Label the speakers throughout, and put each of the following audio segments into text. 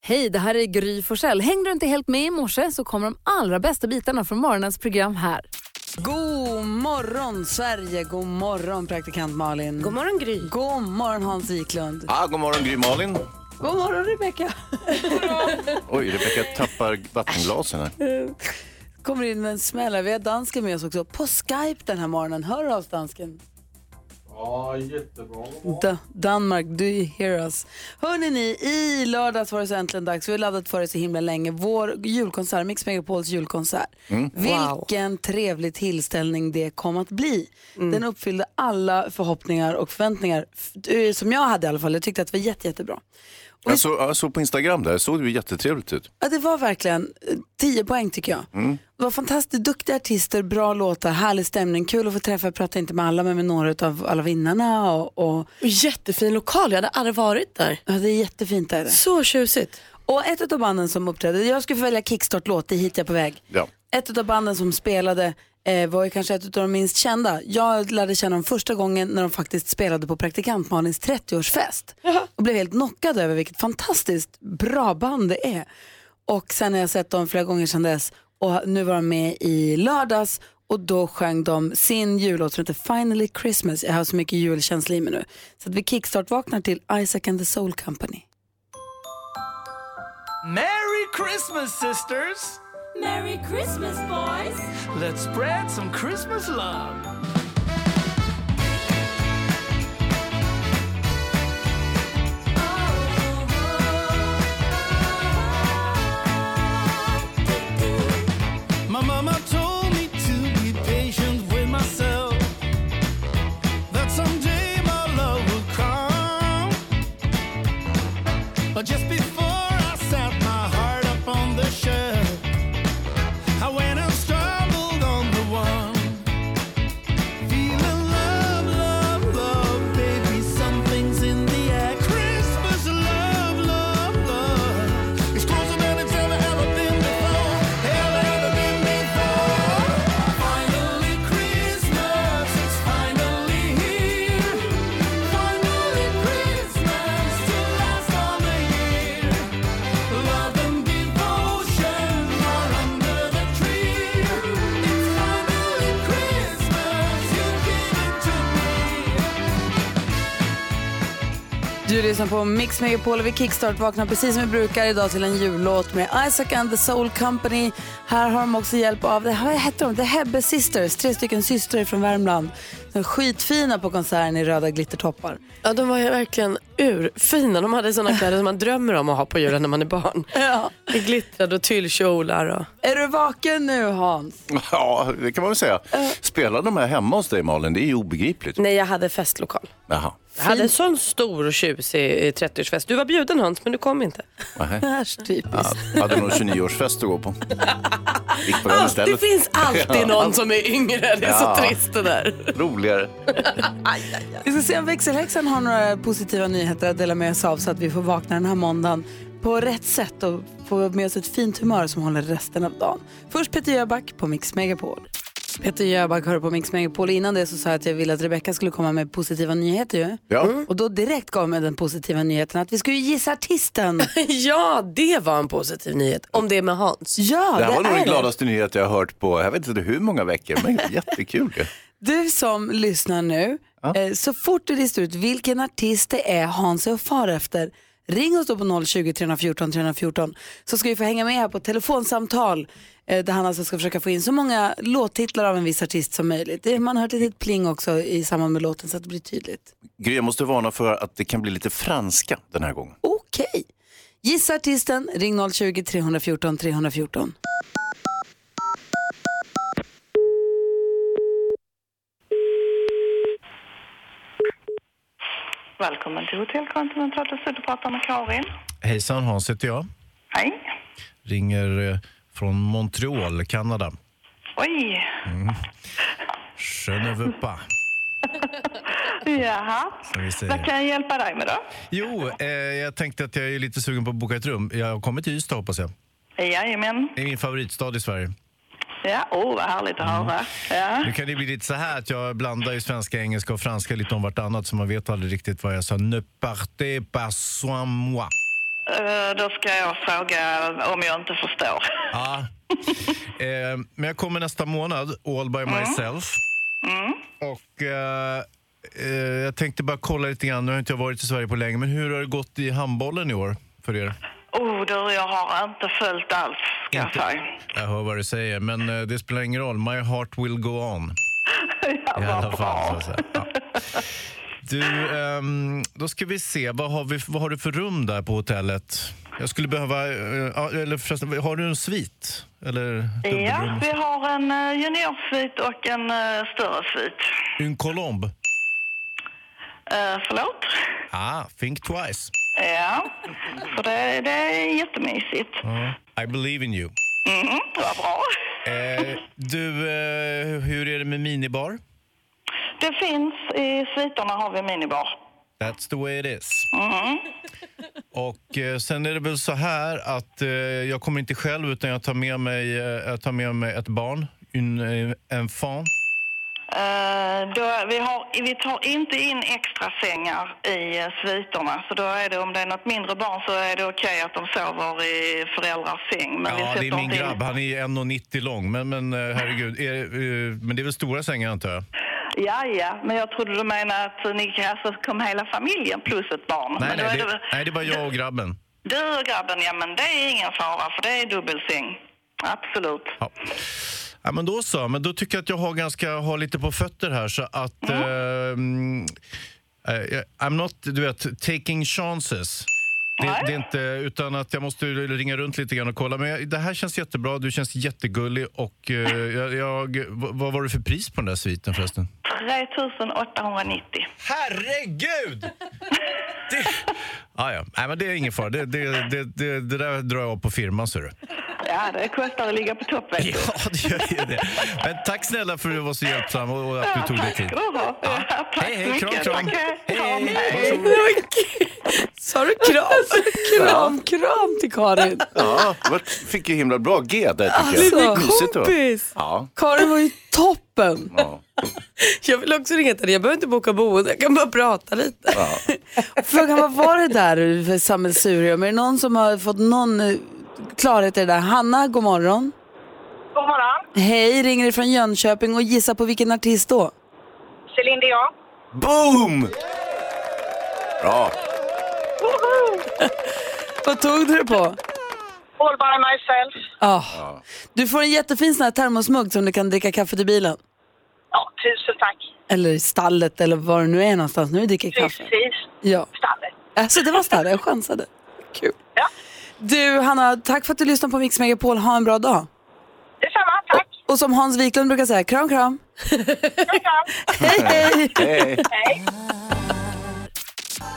Speaker 1: Hej, det här är Gry Forssell. Hängde du inte helt med i morse så kommer de allra bästa bitarna från morgonens program här.
Speaker 2: God morgon, Sverige! God morgon, praktikant Malin. God
Speaker 3: morgon, Gry.
Speaker 2: God morgon, Hans Wiklund.
Speaker 4: Ah, god morgon Gry Malin.
Speaker 2: God morgon, Rebecka.
Speaker 4: Oj, Rebecka tappar vattenglasen här.
Speaker 2: Kommer in med en smäll. här. Vi har dansken med oss också på Skype den här morgonen. Hör du oss, dansken?
Speaker 5: Ja, jättebra.
Speaker 2: Da- Danmark, do you hear us? Hörrni ni, i lördags var det så äntligen dags. Vi har laddat för det så himla länge. Vår julkonsert, Mix Megapols julkonsert. Vilken trevlig tillställning det kom att bli. Den uppfyllde alla förhoppningar och förväntningar. F- eh, Som jag hade i alla fall. Jag tyckte att det var jätte, jättebra.
Speaker 4: Jag såg, jag såg på Instagram där, såg det ju jättetrevligt ut.
Speaker 2: Ja, det var verkligen eh, 10 poäng tycker jag. Det var fantastiskt duktiga artister, bra låtar, härlig stämning. Kul att få träffa, jag pratade inte med alla men med några av alla vinnarna. Och, och...
Speaker 3: Jättefin lokal, jag hade aldrig varit där.
Speaker 2: Ja, det är jättefint där.
Speaker 3: Så tjusigt.
Speaker 2: Och ett av banden som uppträdde, jag skulle få välja kickstart-låt, det är hit jag är på väg.
Speaker 4: Ja.
Speaker 2: Ett av banden som spelade eh, var ju kanske ett av de minst kända. Jag lärde känna dem första gången när de faktiskt spelade på praktikant Malins 30-årsfest. Och blev helt knockad över vilket fantastiskt bra band det är. Och sen har jag sett dem flera gånger sedan dess och nu var de med i lördags och då sjöng de sin jullåt som heter Finally Christmas. Jag har så mycket julkänsla i mig nu. Så att vi kickstart-vaknar till Isaac and the Soul Company.
Speaker 6: Merry Christmas, sisters!
Speaker 7: Merry Christmas, boys!
Speaker 6: Let's spread some Christmas love. My mama told me to be patient with myself. That someday my love will come. But just before I set my heart up on the shelf, I went and stumbled on the one. Feeling love, love, love, baby, something's in the air. Christmas love, love, love. It's closer than it's ever, ever been before. Ever, ever been before. Finally Christmas, it's finally here. Finally Christmas to last all the year. Love and devotion are under the tree. It's finally Christmas, you give it to me.
Speaker 2: Du lyssnar på Mix Megapol och vi kickstart vaknar precis som vi brukar idag till en jullåt med Isaac and the Soul Company. Här har de också hjälp av, det här, vad heter de? The Hebbe Sisters, tre stycken systrar från Värmland. De är skitfina på konserten i röda glittertoppar.
Speaker 3: Ja, de var ju verkligen urfina. De hade sådana kläder som man drömmer om att ha på julen när man är barn.
Speaker 2: Ja.
Speaker 3: Det glittrade och tyllkjolar. Och...
Speaker 2: Är du vaken nu Hans?
Speaker 4: ja, det kan man väl säga. Spelar de här hemma hos dig Malin? Det är ju obegripligt.
Speaker 3: Nej, jag hade festlokal.
Speaker 4: Jaha.
Speaker 3: Jag hade en sån stor och tjusig eh, 30-årsfest. Du var bjuden Hans, men du kom inte.
Speaker 4: nähä.
Speaker 2: Äsch, typiskt.
Speaker 4: Hade någon 29-årsfest att gå på? Gick på den
Speaker 3: det
Speaker 4: istället.
Speaker 3: finns alltid någon som är yngre. Det är
Speaker 4: Ja.
Speaker 3: så trist det där.
Speaker 4: Roligare.
Speaker 2: Vi ska se om växelhäxan har några positiva nyheter att dela med oss av så att vi får vakna den här måndagen på rätt sätt och få med oss ett fint humör som håller resten av dagen. Först Peter Jöback på Mix Megapol. Peter Jöback hör på Mix Megapol. Innan det så sa jag att jag ville att Rebecca skulle komma med positiva nyheter ju.
Speaker 4: Ja.
Speaker 2: Och då direkt gav mig den positiva nyheten att vi ska ju gissa artisten.
Speaker 3: Ja, det var en positiv nyhet. Om det är med Hans.
Speaker 2: Ja,
Speaker 4: Det här var nog den
Speaker 2: är det.
Speaker 4: gladaste nyhet jag har hört på, jag vet inte hur många veckor, men jättekul ju.
Speaker 2: Du som lyssnar nu, eh, så fort du listar ut vilken artist det är Hans är och far efter, ring oss då på 020 314 314 så ska vi få hänga med här på ett telefonsamtal eh, där han alltså ska försöka få in så många låttitlar av en viss artist som möjligt. Det- Man hör ett litet pling också i samband med låten så att det blir tydligt.
Speaker 4: Gry, jag måste varna för att det kan bli lite franska den här gången.
Speaker 2: Okej. Gissa artisten, ring 020 314 314.
Speaker 8: Välkommen till Hotell Continental. Du sitter och pratar med Karin.
Speaker 9: Hejsan, Hans heter jag.
Speaker 8: Hej.
Speaker 9: Ringer eh, från Montreal, Kanada.
Speaker 8: Oj.
Speaker 9: Je ne veux pas,
Speaker 8: Jaha.
Speaker 9: som vi
Speaker 8: Vad
Speaker 9: säger.
Speaker 8: kan jag hjälpa dig med då?
Speaker 9: Jo, eh, jag tänkte att jag är lite sugen på att boka ett rum. Jag har kommit till Ystad, hoppas jag.
Speaker 8: Jajamän.
Speaker 9: Det är min favoritstad i Sverige.
Speaker 8: Ja, åh oh, vad härligt att höra. Ja.
Speaker 9: Nu kan det bli lite så här att jag blandar ju svenska, engelska och franska lite om vartannat, så man vet aldrig riktigt vad jag sa. Ne partez pas sans moi.
Speaker 8: Eh, Då ska jag fråga om jag inte förstår.
Speaker 4: Ja. Eh, men jag kommer nästa månad, all by myself. Och eh, eh, jag tänkte bara kolla lite grann, nu har inte jag varit i Sverige på länge, men hur har det gått i handbollen i år för er?
Speaker 8: Oh, du, jag har inte följt alls, ska jag
Speaker 4: Inte?
Speaker 8: säga.
Speaker 4: Jag hör vad du säger, men eh, det spelar ingen roll. My heart will go on.
Speaker 8: Ja,
Speaker 4: I alla
Speaker 8: vad
Speaker 4: fall. Så
Speaker 8: bra.
Speaker 4: att säga. Ja. Du, ehm, då ska vi se. Vad har, vi, vad har du för rum där på hotellet? Jag skulle behöva... eh, ja, eller förresten, har du en svit? Eller
Speaker 8: Ja,
Speaker 4: dubbelrum?
Speaker 8: vi har en eh, juniorsvit och en eh, större svit.
Speaker 4: En kolomb?
Speaker 8: Eh, Förlåt?
Speaker 4: Ah, think twice.
Speaker 8: Ja, så det, det är jättemysigt.
Speaker 4: I believe in you.
Speaker 8: Mm, vad bra.
Speaker 4: Eh, du, eh, hur är det med minibar?
Speaker 8: Det finns, i sviterna har vi minibar. Mm-hmm.
Speaker 4: That's the way it is. Och eh, sen är det väl så här att eh, jag kommer inte själv utan jag tar med mig, eh, jag tar med mig ett barn. En, eh, enfant.
Speaker 8: Eh, då, vi, har, vi tar inte in extra sängar i eh, sviterna. Så då är det, om det är något mindre barn så är det okej att de sover i föräldrars säng. Men vi
Speaker 4: Ja, det är
Speaker 8: sätter
Speaker 4: min
Speaker 8: inte in-
Speaker 4: grabb. Han är 1,90 lång. Men, men eh, herregud, är, eh, men det är väl stora sängar antar jag?
Speaker 8: Ja, ja, men jag trodde du menade att ni alltså, kom hela familjen plus ett barn.
Speaker 4: Nej,
Speaker 8: men då
Speaker 4: nej,
Speaker 8: är
Speaker 4: det, nej, det är bara jag och grabben.
Speaker 8: Du och grabben, ja men det är ingen fara för det är dubbelsäng. Absolut.
Speaker 4: Ja. Ja, men då så, men då tycker jag att jag har, ganska, har lite på fötter här så att... eh, Mm. eh, I'm not, du vet, taking chances. Det,
Speaker 8: Nej.
Speaker 4: det är inte, utan att jag måste ringa runt lite grann och kolla. Men jag, det här känns jättebra, du känns jättegullig och eh, jag, jag, v- vad var det för pris på den där sviten förresten?
Speaker 8: 3890.
Speaker 4: Herregud! Det... Ah, ja. Nej, men det är ingen fara. Det, det, det, det, det där drar jag av på firman, ser du.
Speaker 8: Ja, det kostar att ligga på topp vet du.
Speaker 4: Ja, det gör ju det. Men tack snälla för att du var så hjälpsam och och att du tog dig
Speaker 8: tack
Speaker 4: tid.
Speaker 8: ska du ha. Ja, tack
Speaker 4: Hej,
Speaker 8: så
Speaker 4: hej,
Speaker 8: mycket.
Speaker 4: kram, kram.
Speaker 8: Tack,
Speaker 4: Hej,
Speaker 8: kram,
Speaker 4: hej.
Speaker 8: hej.
Speaker 6: Sa du kram?
Speaker 2: Alltså,
Speaker 6: kram, kram till Karin.
Speaker 10: Ja, det var- fick ju himla bra G där tycker
Speaker 6: Alltså,
Speaker 10: jag. Mysigt det var.
Speaker 11: kompis!
Speaker 10: Ja,
Speaker 6: Karin var ju toppen.
Speaker 10: ja.
Speaker 11: Jag vill också ringa till dig. Jag behöver inte boka boende, jag kan bara prata lite.
Speaker 6: Frågan vad var det där för sammelsurium? Är det någon som har fått någon eh, klarhet i det där? Hanna, god morgon.
Speaker 12: God morgon.
Speaker 6: Hej, ringer ifrån Jönköping och gissa på vilken artist då?
Speaker 12: Céline Dion.
Speaker 10: Boom! Bra.
Speaker 6: Vad tog du det på?
Speaker 12: All by myself.
Speaker 6: Ah. Du får en jättefin sån här termosmugg som du kan dricka kaffe till bilen.
Speaker 12: Ja, tusen tack.
Speaker 6: Eller i stallet eller var du nu är någonstans. Nu dricker jag kaffe.
Speaker 12: Precis.
Speaker 6: Ja.
Speaker 12: Stallet.
Speaker 6: Alltså det var stallet, jag chansade. Kul.
Speaker 12: Ja.
Speaker 6: Du Hanna, tack för att du lyssnade på Mix Megapol. Ha en bra dag.
Speaker 12: Detsamma, tack.
Speaker 6: Och som Hans Wiklund brukar säga, kram kram.
Speaker 12: Kram.
Speaker 6: Hej hej!
Speaker 10: Hej.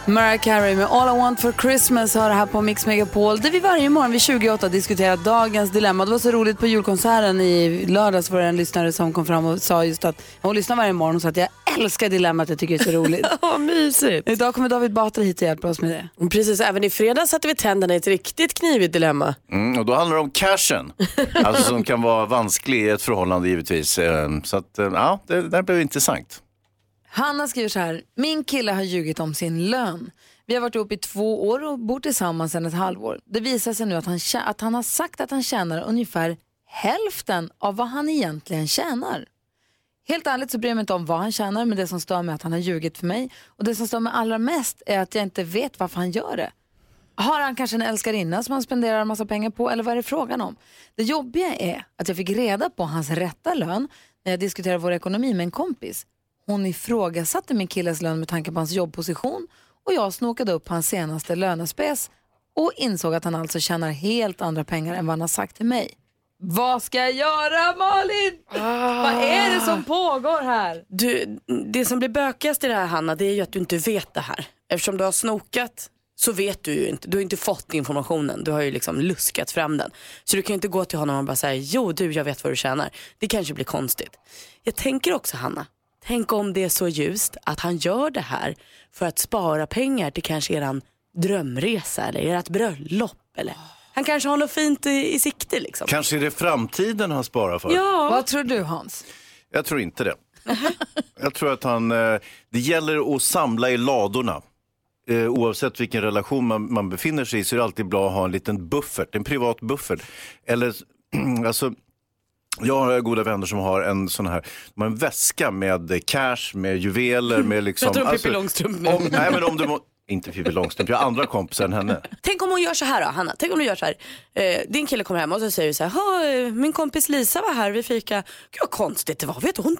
Speaker 6: Mariah Carey med All I Want For Christmas har det här på Mix Megapol där vi varje morgon vid 28 diskuterar dagens dilemma. Det var så roligt på julkonserten i lördags var det en lyssnare som kom fram och sa just att hon lyssnar varje morgon och sa att jag älskar dilemmat, jag tycker det är så roligt.
Speaker 11: Vad mysigt.
Speaker 6: Idag kommer David Batra hit och hjälper oss med det.
Speaker 11: Precis, även i fredags satte vi tänderna i ett riktigt knivigt dilemma.
Speaker 10: Mm, och då handlar det om cashen, alltså som kan vara vansklig i ett förhållande givetvis. Eh, Så att, eh, ja, det det där blev intressant.
Speaker 2: Hanna skriver så här, min kille har ljugit om sin lön. Vi har varit ihop i två år och bor tillsammans sedan ett halvår. Det visar sig nu att han, tjä- att han har sagt att han tjänar ungefär hälften av vad han egentligen tjänar. Helt ärligt så bryr jag mig inte om vad han tjänar, men det som stör mig är att han har ljugit för mig. Och det som stör mig allra mest är att jag inte vet varför han gör det. Har han kanske en älskarinna som han spenderar en massa pengar på eller vad är det frågan om? Det jobbiga är att jag fick reda på hans rätta lön när jag diskuterade vår ekonomi med en kompis. Hon ifrågasatte min killes lön med tanke på hans jobbposition och jag snokade upp hans senaste lönespes och insåg att han alltså tjänar helt andra pengar än vad han har sagt till mig. Vad ska jag göra Malin? Vad är det som pågår här?
Speaker 11: Du,
Speaker 2: det som blir
Speaker 11: bökigast i det här Hanna, det är ju att du inte vet det här. Eftersom du har snokat så vet du ju inte, du har ju inte fått informationen, du har ju liksom luskat fram den. Så du kan ju inte gå till honom och bara säga, jo du jag vet vad du tjänar. Det kanske blir konstigt. Jag tänker också Hanna, tänk om det är så ljust att han gör det här för att spara pengar till kanske eran drömresa eller ert bröllop. Eller. Han kanske har något fint i, i sikte liksom.
Speaker 10: Kanske är det framtiden han sparar för?
Speaker 11: Ja,
Speaker 2: Vad tror du Hans?
Speaker 10: Jag tror inte det. Jag tror att han, eh, det gäller att samla i ladorna.
Speaker 4: eh, oavsett vilken relation man, man befinner sig i så är det alltid bra att ha en liten buffert, en privat buffert. Eller, alltså, jag har goda vänner som har en sån här, de har en väska med eh, cash, med juveler, med liksom...
Speaker 3: Jag tror Pippi Långstrump nu.
Speaker 4: om, Nej men om du må, inte Pippi Långstrump, jag har andra kompisar än henne.
Speaker 3: Tänk om hon gör så här då, Hanna. Tänk om du gör så här. Eh, din kille kommer hem och så säger du så här. "Ha, eh, Min kompis Lisa var här vid fika. Gud vad konstigt det var. Vet du, hon,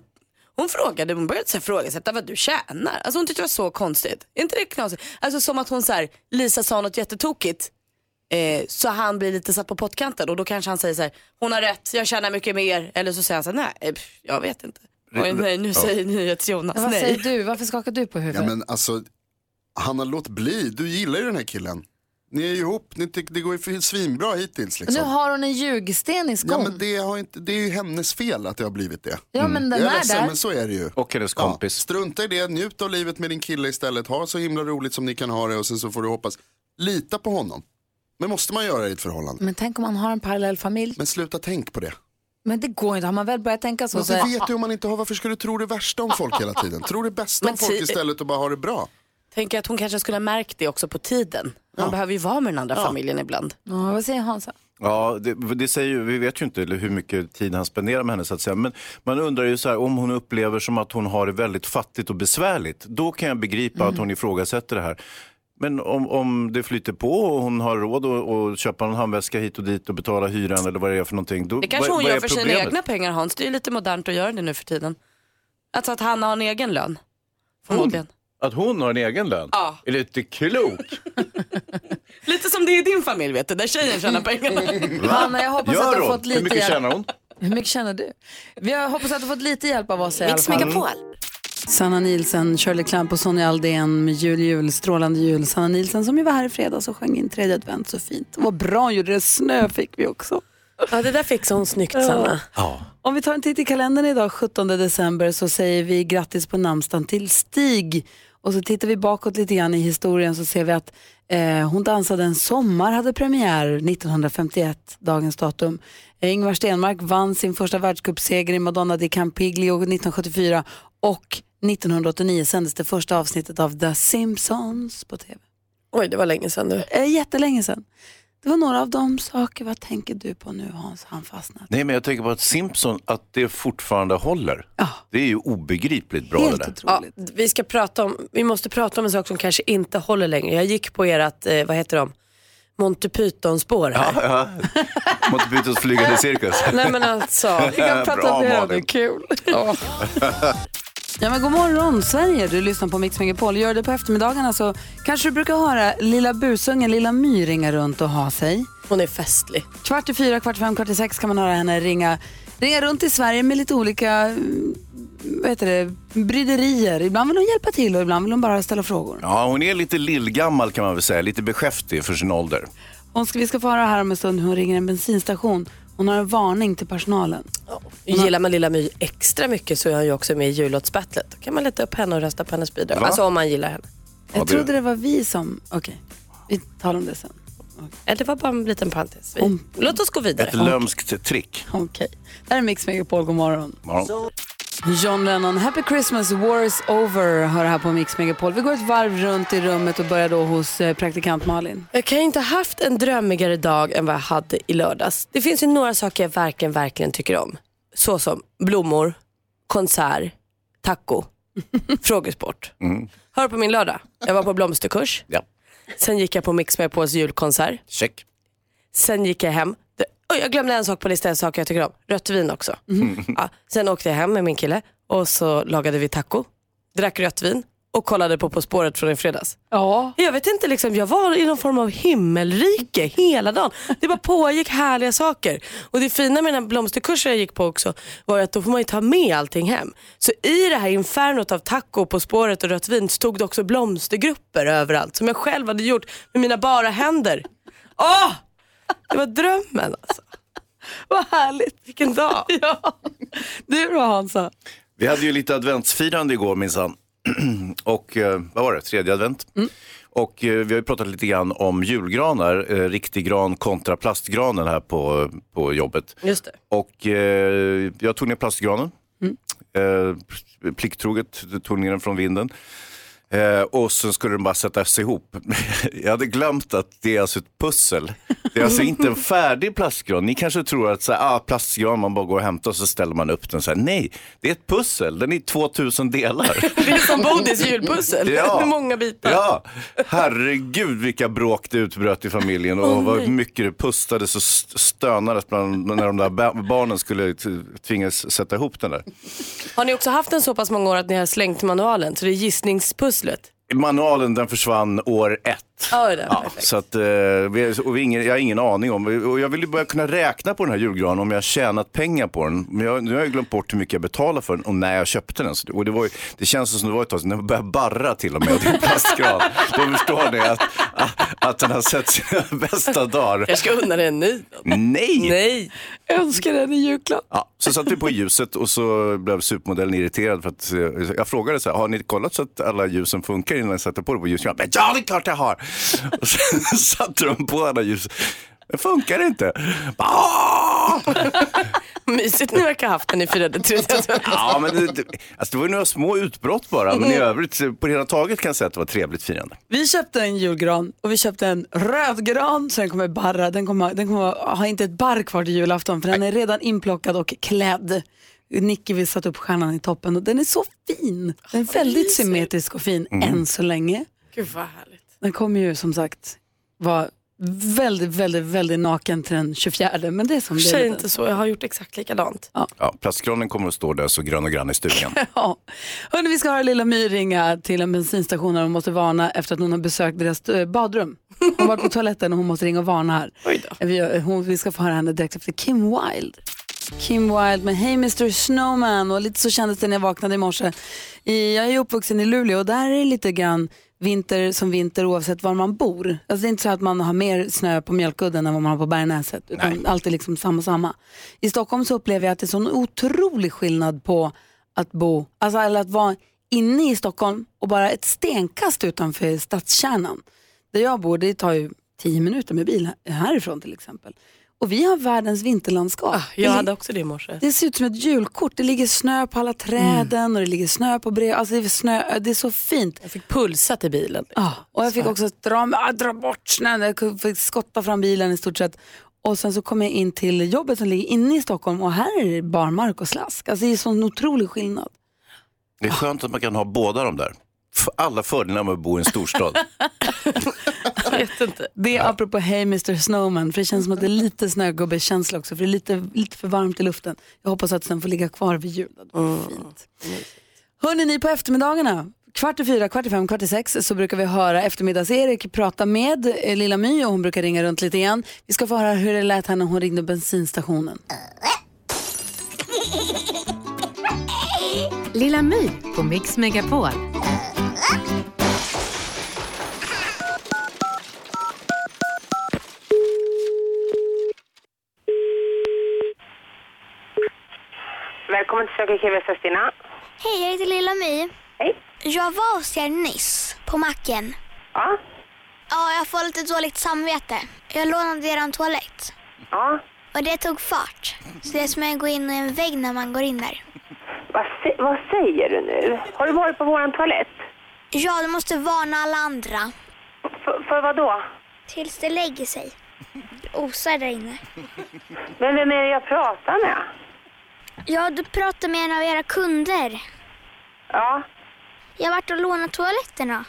Speaker 3: hon frågade, hon började så här frågasätta vad du tjänar. Alltså hon tyckte det var så konstigt. Är inte det knasigt? Alltså som att hon så här, Lisa sa något jättetokigt. Eh, så han blir lite satt på pottkanten och då kanske han säger så här. Hon har rätt, jag tjänar mycket mer. Eller så säger han så här, nej, eh, pff, jag vet inte. Oj, nej, nu
Speaker 13: Ja.
Speaker 3: säger NyhetsJonas
Speaker 1: Vad
Speaker 3: nej.
Speaker 1: säger du? Varför skakar du på huvudet?
Speaker 13: Ja, men alltså, Hanna låt bli. Du gillar ju den här killen. Ni är ju ihop, Ni tycker det går ju svinbra
Speaker 1: Och
Speaker 13: hittills.
Speaker 1: Nu
Speaker 13: Liksom.
Speaker 1: har hon en ljugsten i skon.
Speaker 13: Ja, men det, har inte, det är ju hennes fel att det har blivit Mm. det.
Speaker 1: Ja, men den
Speaker 13: jag
Speaker 1: är
Speaker 13: ledsen,
Speaker 1: där.
Speaker 13: men så är det ju.
Speaker 4: Och hennes
Speaker 13: kompis. strunta i det, njut av livet med din kille istället. Ha så himla roligt som ni kan ha det och sen så får du hoppas. Lita på honom. Men måste man göra i ett förhållande?
Speaker 1: Men tänk om man har en parallell familj.
Speaker 13: Men sluta tänk på det.
Speaker 1: Men det går inte. Har man väl börjat tänka så...
Speaker 13: Men
Speaker 1: så
Speaker 13: det vet du om man inte har. Varför ska du tro det värsta om folk hela tiden? Tro det bästa om
Speaker 3: Men
Speaker 13: folk
Speaker 3: ti-
Speaker 13: istället och bara ha det bra.
Speaker 3: Tänker att hon kanske skulle ha märkt det också på tiden. Man behöver ju vara med den andra familjen ibland.
Speaker 1: Ja, vad säger Hansa?
Speaker 4: Ja, det, det säger ju, vi vet ju inte hur mycket tid han spenderar med henne så att säga. Men man undrar ju så här, om hon upplever som att hon har det väldigt fattigt och besvärligt. Då kan jag begripa att hon ifrågasätter det här. Men om, om det flyter på och hon har råd att att köpa en handväska hit och dit och betala hyran eller vad det är för någonting. Då,
Speaker 3: Det kanske
Speaker 4: vad,
Speaker 3: hon
Speaker 4: vad
Speaker 3: gör
Speaker 4: är
Speaker 3: för sina
Speaker 4: problemet?
Speaker 3: egna pengar Hans. Det är ju lite modernt att göra det nu för tiden. Alltså att han har en egen lön. Förmodligen.
Speaker 4: Att hon har en egen lön?
Speaker 3: Ja.
Speaker 4: Är det inte klok?
Speaker 3: Lite som det är i din familj vet du, där tjejen
Speaker 11: Mm.
Speaker 3: tjänar pengarna.
Speaker 1: Hanna, jag hoppas att
Speaker 4: Gör
Speaker 1: du har
Speaker 4: hon?
Speaker 1: fått lite
Speaker 4: Hur mycket
Speaker 1: hjälp.
Speaker 4: tjänar hon?
Speaker 1: Hur mycket tjänar du? Vi har hoppas att du har fått lite hjälp av oss i
Speaker 2: Mix
Speaker 1: alla fall.
Speaker 2: Megapol. Sanna Nielsen, Shirley Clamp och Sonja Aldén med Jul, jul, strålande jul. Sanna Nielsen som ju var här i fredags och sjöng in tredje advent så fint. Och Vad bra hon gjorde det. Snö fick vi också.
Speaker 11: Ja, det där fixade hon snyggt,
Speaker 2: Ja.
Speaker 11: Sanna.
Speaker 2: Om vi tar en titt i kalendern idag, 17 december, så säger vi grattis på namnsdagen till Stig. Och så tittar vi bakåt lite grann i historien så ser vi att eh, Hon dansade en sommar hade premiär 1951, dagens datum. Eh, Ingvar Stenmark vann sin första världscupseger i Madonna di Campiglio 1974 och 1989 sändes det första avsnittet av The Simpsons på tv.
Speaker 11: Oj, det var länge sedan du.
Speaker 2: Eh, jättelänge sedan. Det var några av de saker, vad tänker du på nu Hans? Han fastnar.
Speaker 4: Nej, men jag tänker på att Simpson, att det fortfarande håller. Det är ju obegripligt bra det där.
Speaker 11: Ja, vi, ska prata om, vi måste prata om en sak som kanske inte håller längre. Jag gick på ert, eh, vad heter de, Monty Python-spår här.
Speaker 4: Ja, Monty Pythons flygande cirkus.
Speaker 11: Nej men alltså.
Speaker 4: Vi kan prata Bra, om det här, Malin. det är
Speaker 2: kul. Ja, men god morgon Sverige, du lyssnar på Mix Megapol. Gör det på eftermiddagarna så kanske du brukar höra lilla busungen, lilla My ringa runt och ha sig.
Speaker 11: Hon är festlig.
Speaker 2: Kvart i fyra, kvart i fem, kvart i sex kan man höra henne ringa, ringa runt i Sverige med lite olika mm, vad heter det, bryderier. Ibland vill hon hjälpa till och ibland vill hon bara ställa frågor.
Speaker 4: Ja, hon är lite lillgammal kan man väl säga, lite beskäftig för sin ålder.
Speaker 2: Hon ska, vi ska få höra här om en stund hur hon ringer en bensinstation. Hon har en varning till personalen.
Speaker 4: Mm.
Speaker 11: Gillar man Lilla My extra mycket så är hon ju också med i jullåtsbattlet. Då kan man leta upp henne och rösta på hennes bidrag.
Speaker 2: Va?
Speaker 11: Alltså om man gillar henne.
Speaker 2: Jag trodde det var vi som... Okej, vi talar om det sen.
Speaker 11: Ja, det var bara en liten parentes. Vi... Låt oss gå vidare.
Speaker 4: Ett lömskt trick.
Speaker 2: Okej. Det här är Mix Megapol, god morgon. John Lennon, Happy Christmas, War is over, hör här på Mix Megapol. Vi går ett varv runt i rummet och börjar då hos eh, praktikant Malin.
Speaker 11: Jag kan ju inte ha haft en drömmigare dag än vad jag hade i lördags. Det finns ju några saker jag verkligen, verkligen tycker om. Så som blommor, konsert, taco, frågesport.
Speaker 4: Mm.
Speaker 11: Hör på min lördag. Jag var på blomsterkurs.
Speaker 4: Ja.
Speaker 11: Sen gick jag på Mix Megapols julkonsert.
Speaker 4: Check.
Speaker 11: Sen gick jag hem. Det- Oj, jag glömde en sak på listan, saker jag tycker om. Rött vin också.
Speaker 4: Mm.
Speaker 11: Ja, sen åkte jag hem med min kille och så lagade vi taco, drack rött vin och kollade på På spåret från i fredags.
Speaker 2: Ja.
Speaker 11: Jag vet inte, liksom, jag var i någon form av himmelrike hela dagen. Det bara pågick härliga saker. Och det fina med den här blomsterkursen jag gick på också var ju att då får man ju ta med allting hem. Så i det här infernot av taco, På spåret och rött vin stod det också blomstergrupper överallt som jag själv hade gjort med mina bara händer. Åh! Det var drömmen alltså.
Speaker 2: Vad härligt.
Speaker 11: Vilken dag.
Speaker 2: ja. Du då Hansa?
Speaker 4: Vi hade ju lite adventsfirande igår minsann. Och eh, vad var det, tredje advent? Och eh, vi har ju pratat lite grann om julgranar, eh, riktig gran kontra plastgranen här på, på jobbet.
Speaker 11: Just det.
Speaker 4: Och eh, jag tog ner plastgranen. Mm. Eh, plikttroget tog ner den från vinden. Eh, och sen skulle de bara sättas ihop. Jag hade glömt att det är alltså ett pussel. Det är alltså inte en färdig plastgran. Ni kanske tror att så här, ah, plastgran man bara går och hämtar och så ställer man upp den. Så här, nej, det är ett pussel. Den är i 2000 delar.
Speaker 11: Det är som Bodils julpussel.
Speaker 4: Ja.
Speaker 11: Hur många bitar?
Speaker 4: Ja, herregud vilka bråk det utbröt i familjen och
Speaker 11: Åh,
Speaker 4: vad
Speaker 11: nej.
Speaker 4: mycket det pustades och st- stönades bland, när de där ba- barnen skulle t- tvingas sätta ihop den där.
Speaker 11: Har ni också haft den så pass många år att ni har slängt manualen? Så det är gissningspusslet?
Speaker 4: Manualen den försvann år ett.
Speaker 11: Ja, det är det.
Speaker 4: Ja, så att, eh, vi, och vi har ingen, jag har ingen aning om, och jag vill ju börja kunna räkna på den här julgranen om jag har tjänat pengar på den. Men jag, nu har jag glömt bort hur mycket jag betalade för den och när jag köpte den. Så, det- och det, var ju, det känns som det var ett tag sedan, den började barra till och med. Och det är en plastgran. Då förstår ni att, att, att den har sett sina bästa dagar.
Speaker 11: Jag ska unna dig en ny.
Speaker 4: Nej!
Speaker 11: Nej.
Speaker 2: Önskar den i julklapp.
Speaker 4: Ja, så satte vi på ljuset och så blev supermodellen irriterad för att eh, jag frågade så här, har ni kollat så att alla ljusen funkar innan jag sätter på det på ljuset? Jag bara, ja det är klart jag har! Och sen satte de på alla ljus. Det funkar inte.
Speaker 11: Mysigt ni verkar ha haft den i firade
Speaker 4: Ja, men det, det, alltså, det var ju några små utbrott bara, men i övrigt eh, på det hela taget kan jag säga att det var ett trevligt firande.
Speaker 2: Vi köpte en julgran och vi köpte en röd gran så den kommer barra. Den kommer, den kommer ha inte ett barr kvar till julafton för den är redan inplockad och klädd. Nicky vill sätta upp stjärnan i toppen och den är så fin. Den är väldigt symmetrisk och fin
Speaker 11: Mm.
Speaker 2: än så länge.
Speaker 11: Gud vad härligt.
Speaker 2: Den kommer ju som sagt vara väldigt, väldigt, väldigt naken till den 24 men det är som det
Speaker 11: Säg
Speaker 2: är.
Speaker 11: inte så, jag har gjort exakt likadant.
Speaker 4: Ja, plastgranen kommer att stå där så grön och grann i stugan.
Speaker 2: Ja. Hörrni, vi ska höra lilla My ringa till en bensinstation där hon måste varna efter att hon har besökt deras eh, badrum. Hon har varit på toaletten och hon måste ringa och varna här. Vi, gör- hon, vi ska få höra henne direkt efter Kim Wilde. Kim Wilde med Hey Mr Snowman och lite så kändes det när jag vaknade i morse. I, jag är uppvuxen i Luleå och där är det lite grann vinter som vinter oavsett var man bor. Alltså det är inte så att man har mer snö på Mjölkudden än vad man har på Bergnäset. Utan allt är liksom samma samma. I Stockholm så upplever jag att det är sån otrolig skillnad på att bo, alltså eller att vara inne i Stockholm och bara ett stenkast utanför stadskärnan. Där jag bor, det tar ju tio minuter med bil här- härifrån till exempel. Och vi har världens vinterlandskap.
Speaker 11: Ah, Jag
Speaker 2: Det-
Speaker 11: hade också det i morse.
Speaker 2: det ser ut som ett julkort. Det ligger snö på alla träden och det ligger snö på brev. Alltså det, är snö, det är så fint. Jag
Speaker 11: fick pulsat i bilen.
Speaker 2: Ja, och jag fick också dra, ah, dra bort snön. Jag kunde- fick skotta fram bilen i stort sett. Och sen så kom jag in till jobbet som ligger inne i Stockholm och här är det barmark och slask. Alltså det är sån otrolig skillnad.
Speaker 4: Det är skönt att man kan ha båda de där. F- Alla fördelar med att bo i en storstad.
Speaker 2: Det är apropå Hey Mr Snowman, för det känns som att det är lite snögubbekänsla också, för det är lite, lite för varmt i luften. Jag hoppas att den får ligga kvar vid jul. Det var fint. Hörni, ni på eftermiddagarna, kvart i fyra, kvart i fem, kvart i sex så brukar vi höra eftermiddags-Erik prata med eh, Lilla My och hon brukar ringa runt lite igen. Vi ska få höra hur det lät här när hon ringde bensinstationen.
Speaker 14: Lilla My på Mix Megapol.
Speaker 15: Välkommen till Söker KV Stina.
Speaker 16: Hej, jag heter Lilla My. Hej. Jag var hos er nyss, på macken. Ja. Ja, jag får lite dåligt samvete. Jag lånade er en toalett. Ja. Och det tog fart. Så det är som att gå in i en vägg när man går in där.
Speaker 15: Vad, sä- vad säger du nu? Har du varit på våran toalett?
Speaker 16: Ja, du måste varna alla andra.
Speaker 15: För, för vad då?
Speaker 16: Tills det lägger sig. Det osar där inne.
Speaker 15: Men vem är det jag pratar med?
Speaker 16: Ja, du pratade med en av era kunder. Ja. Jag vart och lånade toaletterna.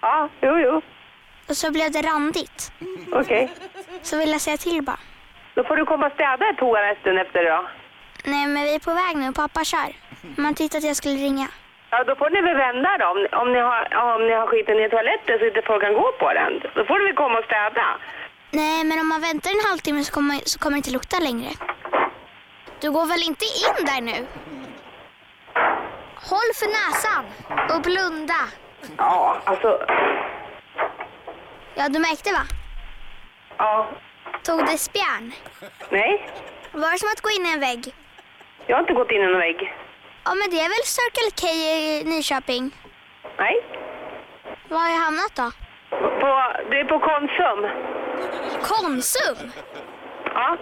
Speaker 16: Ja, jo, jo. Och så blev det randigt. Okej. Så ville jag säga till bara.
Speaker 15: Då får du komma och städa toaletten efter idag.
Speaker 16: Nej, men vi är på väg nu. Pappa kör. Man tyckte att jag skulle ringa.
Speaker 15: Ja, då får ni väl vända då. Om, om, ni har, om ni har skiten i toaletten så inte folk kan gå på den. Då får du väl komma och städa.
Speaker 16: Nej, men om man väntar en halvtimme så kommer, så kommer det inte lukta längre. Du går väl inte in där nu? Håll för näsan och blunda.
Speaker 15: Ja, alltså...
Speaker 16: Ja, du märkte va?
Speaker 15: Ja.
Speaker 16: Tog det spjärn?
Speaker 15: Nej,
Speaker 16: Var det som att gå in i en vägg?
Speaker 15: jag har inte gått in i någon vägg.
Speaker 16: Ja, men det är väl Circle K i Nyköping?
Speaker 15: Nej.
Speaker 16: Var har jag hamnat då?
Speaker 15: På, det är på Konsum.
Speaker 16: Konsum?
Speaker 15: Ja.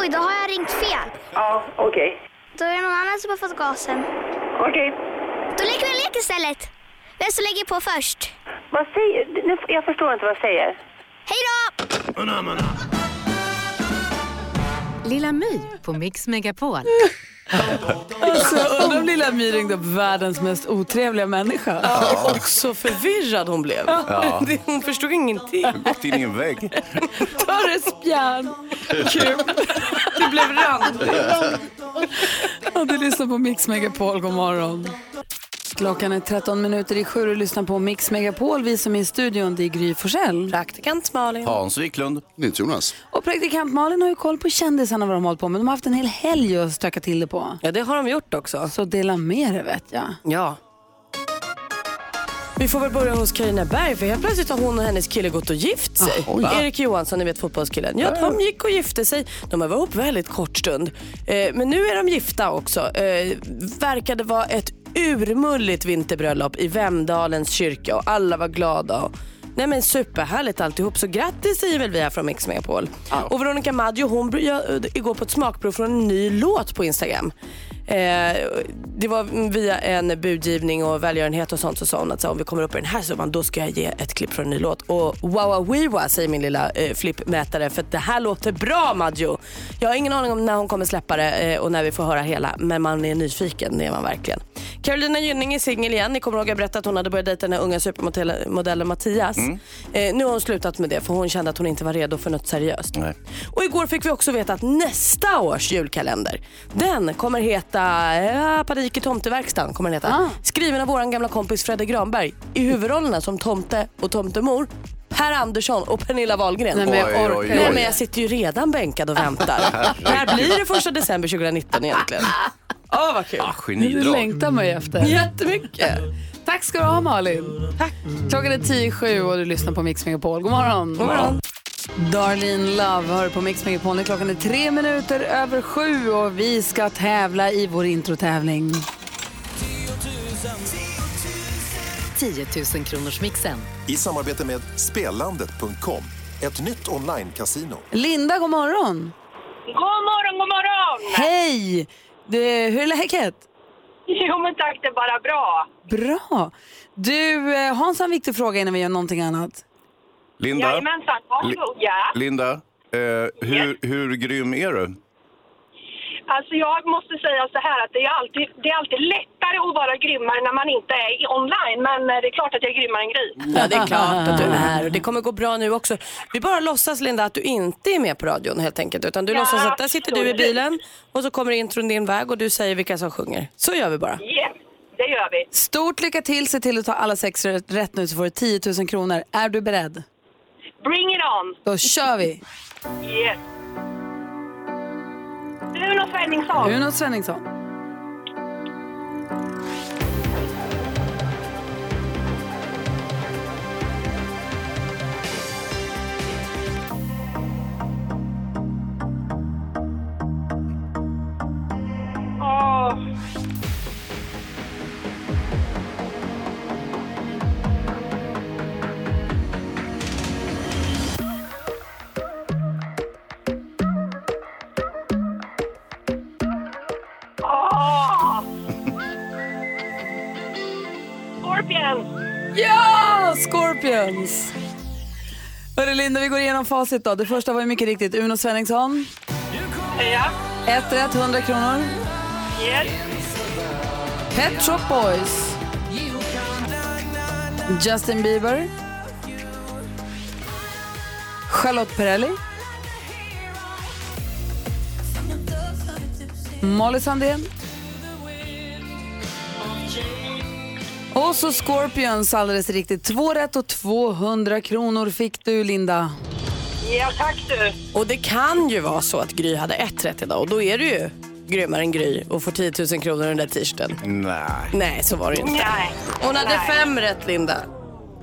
Speaker 16: Oj, då har jag ringt fel.
Speaker 15: Ja, okej.
Speaker 16: Då är det någon annan som har fått gasen.
Speaker 15: Okej.
Speaker 16: Då leker vi en lek istället. Vem som lägger på först?
Speaker 15: Vad säger nu, Jag förstår inte vad jag säger.
Speaker 16: Hej då!
Speaker 14: Lilla My på Mix Megapol.
Speaker 2: Alltså, undrar om lilla My ringde upp världens mest otrevliga människa.
Speaker 11: Ja. Och så förvirrad hon blev.
Speaker 2: Ja.
Speaker 11: Det- Hon förstod ingenting.
Speaker 4: Gått in i en vägg.
Speaker 2: Torres Björn.
Speaker 11: Kul. Det blev randigt.
Speaker 2: Och du lyssnar på Mix Megapol, god morgon. Klockan är 13 minuter i sju och lyssnar på Mix Megapol. Vi som är i studion, det är Gry Forssell.
Speaker 11: Praktikant Malin.
Speaker 4: Hans Wiklund.
Speaker 13: Jonas.
Speaker 2: Och praktikant Malin har ju koll på kändisarna vad de har hållit på med. De har haft en hel helg att stöka till det på.
Speaker 11: Ja, det har de gjort också.
Speaker 2: Så dela med er vet jag.
Speaker 11: Ja. Vi får väl börja hos Carina Berg för helt plötsligt har hon och hennes kille gått och gift sig.
Speaker 2: Ah, oj. Va?
Speaker 11: Erik Johansson, ni vet fotbollskillen. Ja, de gick och gifte sig. De var ihop väldigt kort stund. Eh, men nu är de gifta också. Eh, verkade vara ett urmulligt vinterbröllop i Vemdalens kyrka och alla var glada. Och... Nej men superhärligt alltihop, så grattis säger väl vi här från Mix Megapol. Och Veronica Maggio hon br- ja, eh, igår på ett smakprov från en ny låt på Instagram. Eh, det var via en budgivning och välgörenhet och sånt så sa hon att så, här, om vi kommer upp i den här summan då ska jag ge ett klipp från en ny låt. Och wow, wow, wow säger min lilla eh, flippmätare för att det här låter bra Maggio. Jag har ingen aning om när hon kommer släppa det eh, och när vi får höra hela men man är nyfiken, det är man verkligen. Carolina Gynning är singel igen. Ni kommer ihåg jag berättade att hon hade börjat dejta den här unga supermodellen Mattias. Eh, nu har hon slutat med det för hon kände att hon inte var redo för något seriöst. Och igår fick vi också veta att nästa års julkalender, den kommer heta eh, Panik i tomteverkstan. Kommer den heta. Skriven av vår gamla kompis Fredrik Granberg i huvudrollerna som tomte och tomtemor. Per Andersson och Pernilla Wahlgren.
Speaker 2: Nej, men jag Oj, orkar. oj, oj.
Speaker 11: Nej, men jag sitter ju redan bänkad och väntar. det här blir det första december 2019 egentligen. Åh, vad kul.
Speaker 2: Det längtar man ju efter.
Speaker 11: Jättemycket.
Speaker 2: Tack ska du ha Malin. Tack. Klockan är 10 i sju och du lyssnar på Mix Megapol. God morgon.
Speaker 11: God morgon.
Speaker 2: Darlene Love hör på Mix Megapol. Nu Klockan är tre minuter över sju och vi ska tävla i vår introtävling.
Speaker 14: 10 000 kronors mixen.
Speaker 17: I samarbete med Spellandet.com, ett nytt online-casino.
Speaker 2: Linda, god morgon.
Speaker 10: God morgon, god morgon!
Speaker 2: Hej! Du, hur är läget?
Speaker 10: Jo men tack, det är bara bra.
Speaker 2: Bra. Du, eh, Hans har en viktig fråga innan vi gör någonting annat.
Speaker 4: Linda.
Speaker 10: Jajamensan, varsågod. Ja.
Speaker 4: Linda, eh, hur, hur grym är du?
Speaker 10: Alltså jag måste säga så här att det är, alltid, det är alltid lättare att vara grymmare när man inte är i- online. Men eh, det är klart att jag är grymmare än Gry.
Speaker 2: Mm.
Speaker 11: Ja, det är klart att du är och det kommer gå bra nu också. Vi bara låtsas Linda att du inte är med på radion helt enkelt. Utan du
Speaker 10: Ja,
Speaker 11: låtsas att där sitter du i
Speaker 10: absolut.
Speaker 11: bilen och så kommer intron din väg och du säger vilka som sjunger. Så gör vi bara.
Speaker 10: Yes, det gör vi.
Speaker 2: Stort lycka till. Se till att ta alla sex rätt rätt nu så får du 10 000 kronor. Är du beredd?
Speaker 10: Bring it on!
Speaker 2: Då kör vi.
Speaker 10: Yes. Uno Svenningsson.
Speaker 2: Uno Svenningsson.
Speaker 10: Åh. Åh. Scorpions!
Speaker 2: Ja, Scorpions! Hörru Linda, vi går igenom facit då. Det första var ju mycket riktigt Uno Svenningsson.
Speaker 10: Ja.
Speaker 2: Ett rätt, 100 kronor.
Speaker 10: Yes.
Speaker 2: Pet Shop Boys. Justin Bieber. Charlotte Perrelli. Molly Sandén. Och så Scorpions, alldeles riktigt. Två rätt och 200 kronor fick du, Linda.
Speaker 10: Ja, tack du.
Speaker 11: Och det kan ju vara så att Gry hade ett rätt idag och då är du ju grymmare än Gry och får 10 000 kronor i den där t-shirten.
Speaker 4: Nej.
Speaker 11: Nej, så var det ju inte.
Speaker 10: Nej.
Speaker 11: Hon hade
Speaker 10: Nej.
Speaker 11: fem rätt Linda.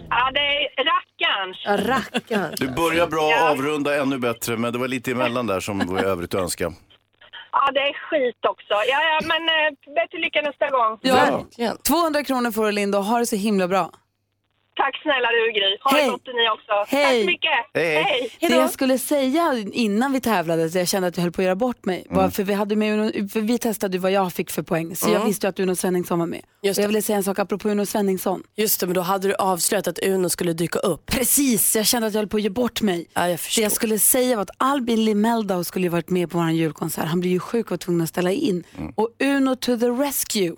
Speaker 10: Ja, det är rackarns.
Speaker 11: Rackarn.
Speaker 4: Du börjar bra, avrunda ännu bättre, men det var lite emellan där som var i övrigt att önska.
Speaker 10: Ja, det är skit också. Ja, ja men eh, bättre lycka nästa gång.
Speaker 2: Ja. 200 kronor får du, Linda. och Ha det så himla bra.
Speaker 10: Tack snälla du Gry. Ha det
Speaker 2: Hej.
Speaker 10: gott ni också. Tack
Speaker 2: Hej.
Speaker 10: så mycket.
Speaker 2: Det jag skulle säga innan vi tävlade, så jag kände att jag höll på att göra bort mig, var för vi, hade med Uno, för vi testade ju vad jag fick för poäng, så jag
Speaker 11: Mm. Mm.
Speaker 2: visste ju att Uno Svenningsson var med.
Speaker 11: Just det.
Speaker 2: och jag ville säga en sak apropå Uno Svenningsson.
Speaker 11: Just det, men då hade du avslöjat att Uno skulle dyka upp.
Speaker 2: Precis, jag kände att jag höll på att ge bort mig. det jag skulle säga var att Albin Limeldau skulle ju varit med på vår julkonsert. Han blev ju sjuk och var tvungen att ställa in. Och Uno to the rescue.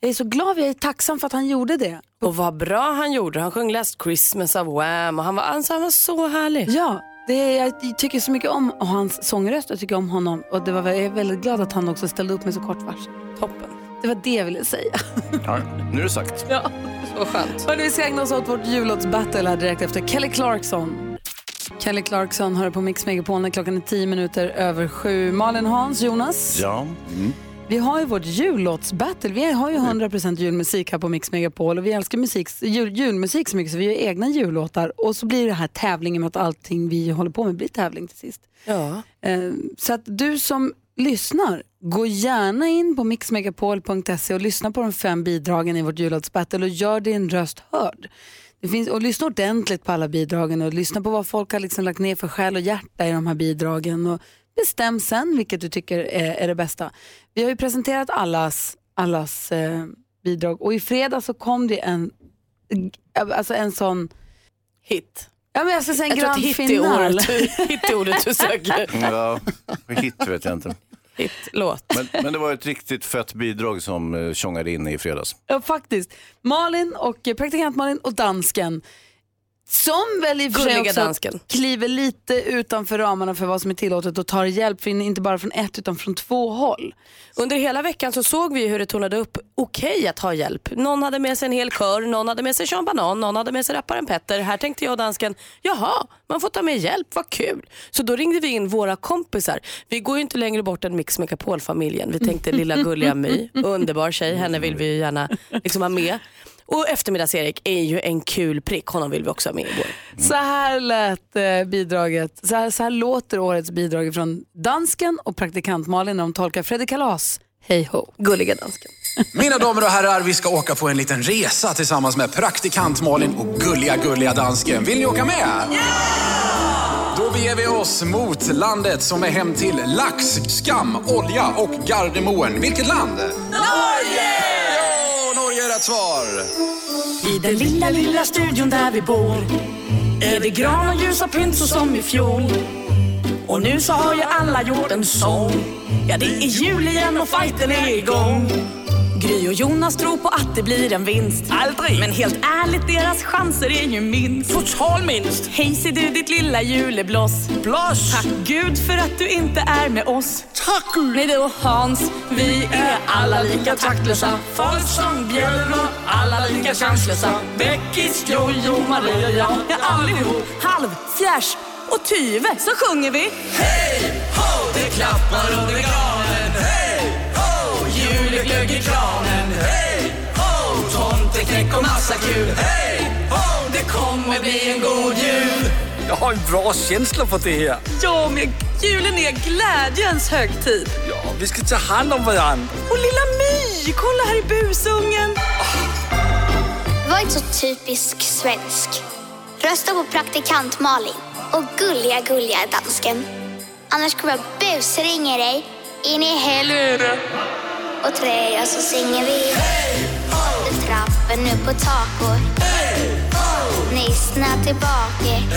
Speaker 2: Jag är så glad, jag är tacksam för att han gjorde det.
Speaker 11: Och vad bra han gjorde. Han sjöng Last Christmas av Wham och han var, alltså, han var så härlig.
Speaker 2: Ja, det, är- jag tycker så mycket om hans sångröst, jag tycker om honom. Och det var, jag är väldigt glad att han också ställde upp med så kort varsel.
Speaker 11: Toppen.
Speaker 2: Det var det jag ville säga.
Speaker 4: Ja, nu är det sagt.
Speaker 2: Ja, så skönt. Hörrni, vi ska ägna oss åt vårt jullåtsbattle här direkt efter Kelly Clarkson. Kelly Clarkson hör på Mix Megapol när klockan är tio minuter över sju. Malin, Hans, Jonas.
Speaker 4: Ja. Mm.
Speaker 2: Vi har ju vårt jullåtsbattle. Vi har ju 100% julmusik här på Mix Megapol och vi älskar musik, jul, julmusik så mycket så vi gör egna jullåtar. Och så blir det här tävlingen med att allting vi håller på med blir tävling till sist.
Speaker 11: Ja.
Speaker 2: Eh, Så att du som lyssnar, gå gärna in på mixmegapol.se och lyssna på de fem bidragen i vårt jullåtsbattle och gör din röst hörd. Det finns, och lyssna ordentligt på alla bidragen och lyssna på vad folk har liksom lagt ner för själ och hjärta i de här bidragen och bestäm sen vilket du tycker är, är det bästa. Vi har ju presenterat allas, allas eh, bidrag och i fredag så kom det en, alltså en sån
Speaker 11: hit.
Speaker 2: Ja, men jag ska säga
Speaker 11: Jag
Speaker 2: en
Speaker 11: tror att
Speaker 2: grand
Speaker 11: hit är
Speaker 2: final.
Speaker 11: ordet du- hit är ordet du söker.
Speaker 4: Ja, hit vet jag inte.
Speaker 11: Låt.
Speaker 4: Men, men det var ett riktigt fett bidrag som eh, tjongade in i fredags.
Speaker 2: Ja, faktiskt. Malin och eh, praktikant Malin och dansken. Som väl i och för sig
Speaker 11: Gulliga
Speaker 2: också
Speaker 11: dansken.
Speaker 2: kliver lite utanför ramarna för vad som är tillåtet och tar hjälp, från, inte bara från ett utan från två håll.
Speaker 11: Under hela veckan så såg vi ju hur det tonade upp okej att ha hjälp. Någon hade med sig en hel kör, någon hade med sig Sean Banan, någon hade med sig rapparen Petter. Här tänkte jag och dansken, jaha, man får ta med hjälp, vad kul. Så då ringde vi in våra kompisar. Vi går ju inte längre bort än Mix Megapol-familjen. Vi tänkte lilla gulliga My, underbar tjej, henne vill vi ju gärna liksom ha med. Och eftermiddags-Erik är ju en kul prick, honom vill vi också ha med i vår.
Speaker 2: Så här lät eh, bidraget. Så här, så här låter årets bidrag från dansken och praktikant Malin när de tolkar Fredrik Kalas. Hej ho. Gulliga dansken.
Speaker 18: Mina damer och herrar, vi ska åka på en liten resa tillsammans med praktikant Malin och gulliga, gulliga dansken. Vill ni åka med? Då beger vi oss mot landet som är hem till lax, skam, olja och Gardermoen. Vilket land? Norge! Ja, Norge är rätt svar.
Speaker 6: I den lilla, lilla studion där vi bor är det gran och ljus och pynt så som i fjol. Och nu så har ju alla gjort en sång. Ja, det är jul igen och fighten är igång. Gry och Jonas tror på att det blir en vinst. Aldrig! Men helt ärligt, deras chanser är ju minst. Total minst! Hej ser du ditt lilla julebloss. Bloss! Tack Gud för att du inte är med oss. Tack Gud! Nej du och Hans, vi är alla lika taktlösa. Folk som björnar, alla lika chanslösa. Beckis, Jojo, Maria, jag. Ja, allihop. Halv, fjärs och tyve så sjunger vi. Hej, ho! Det klappar under granen. Hej, ho! Jul är glögg i kranen. Hej, ho! Tomteknäck och massa kul. Hej, ho! Det kommer bli en god jul.
Speaker 19: Jag har en bra känsla för det här.
Speaker 6: Ja, men julen är glädjens högtid.
Speaker 19: Ja, vi ska ta hand om varandra.
Speaker 6: Och lilla My, kolla här i busungen.
Speaker 16: Var inte så typisk svensk. Rösta på praktikant Malin och gulliga, gulliga dansken. Annars kommer jag busringa dig in i helvete. Och tröja så singer vi. Under trappen nu på taco. Nissna tillbaka.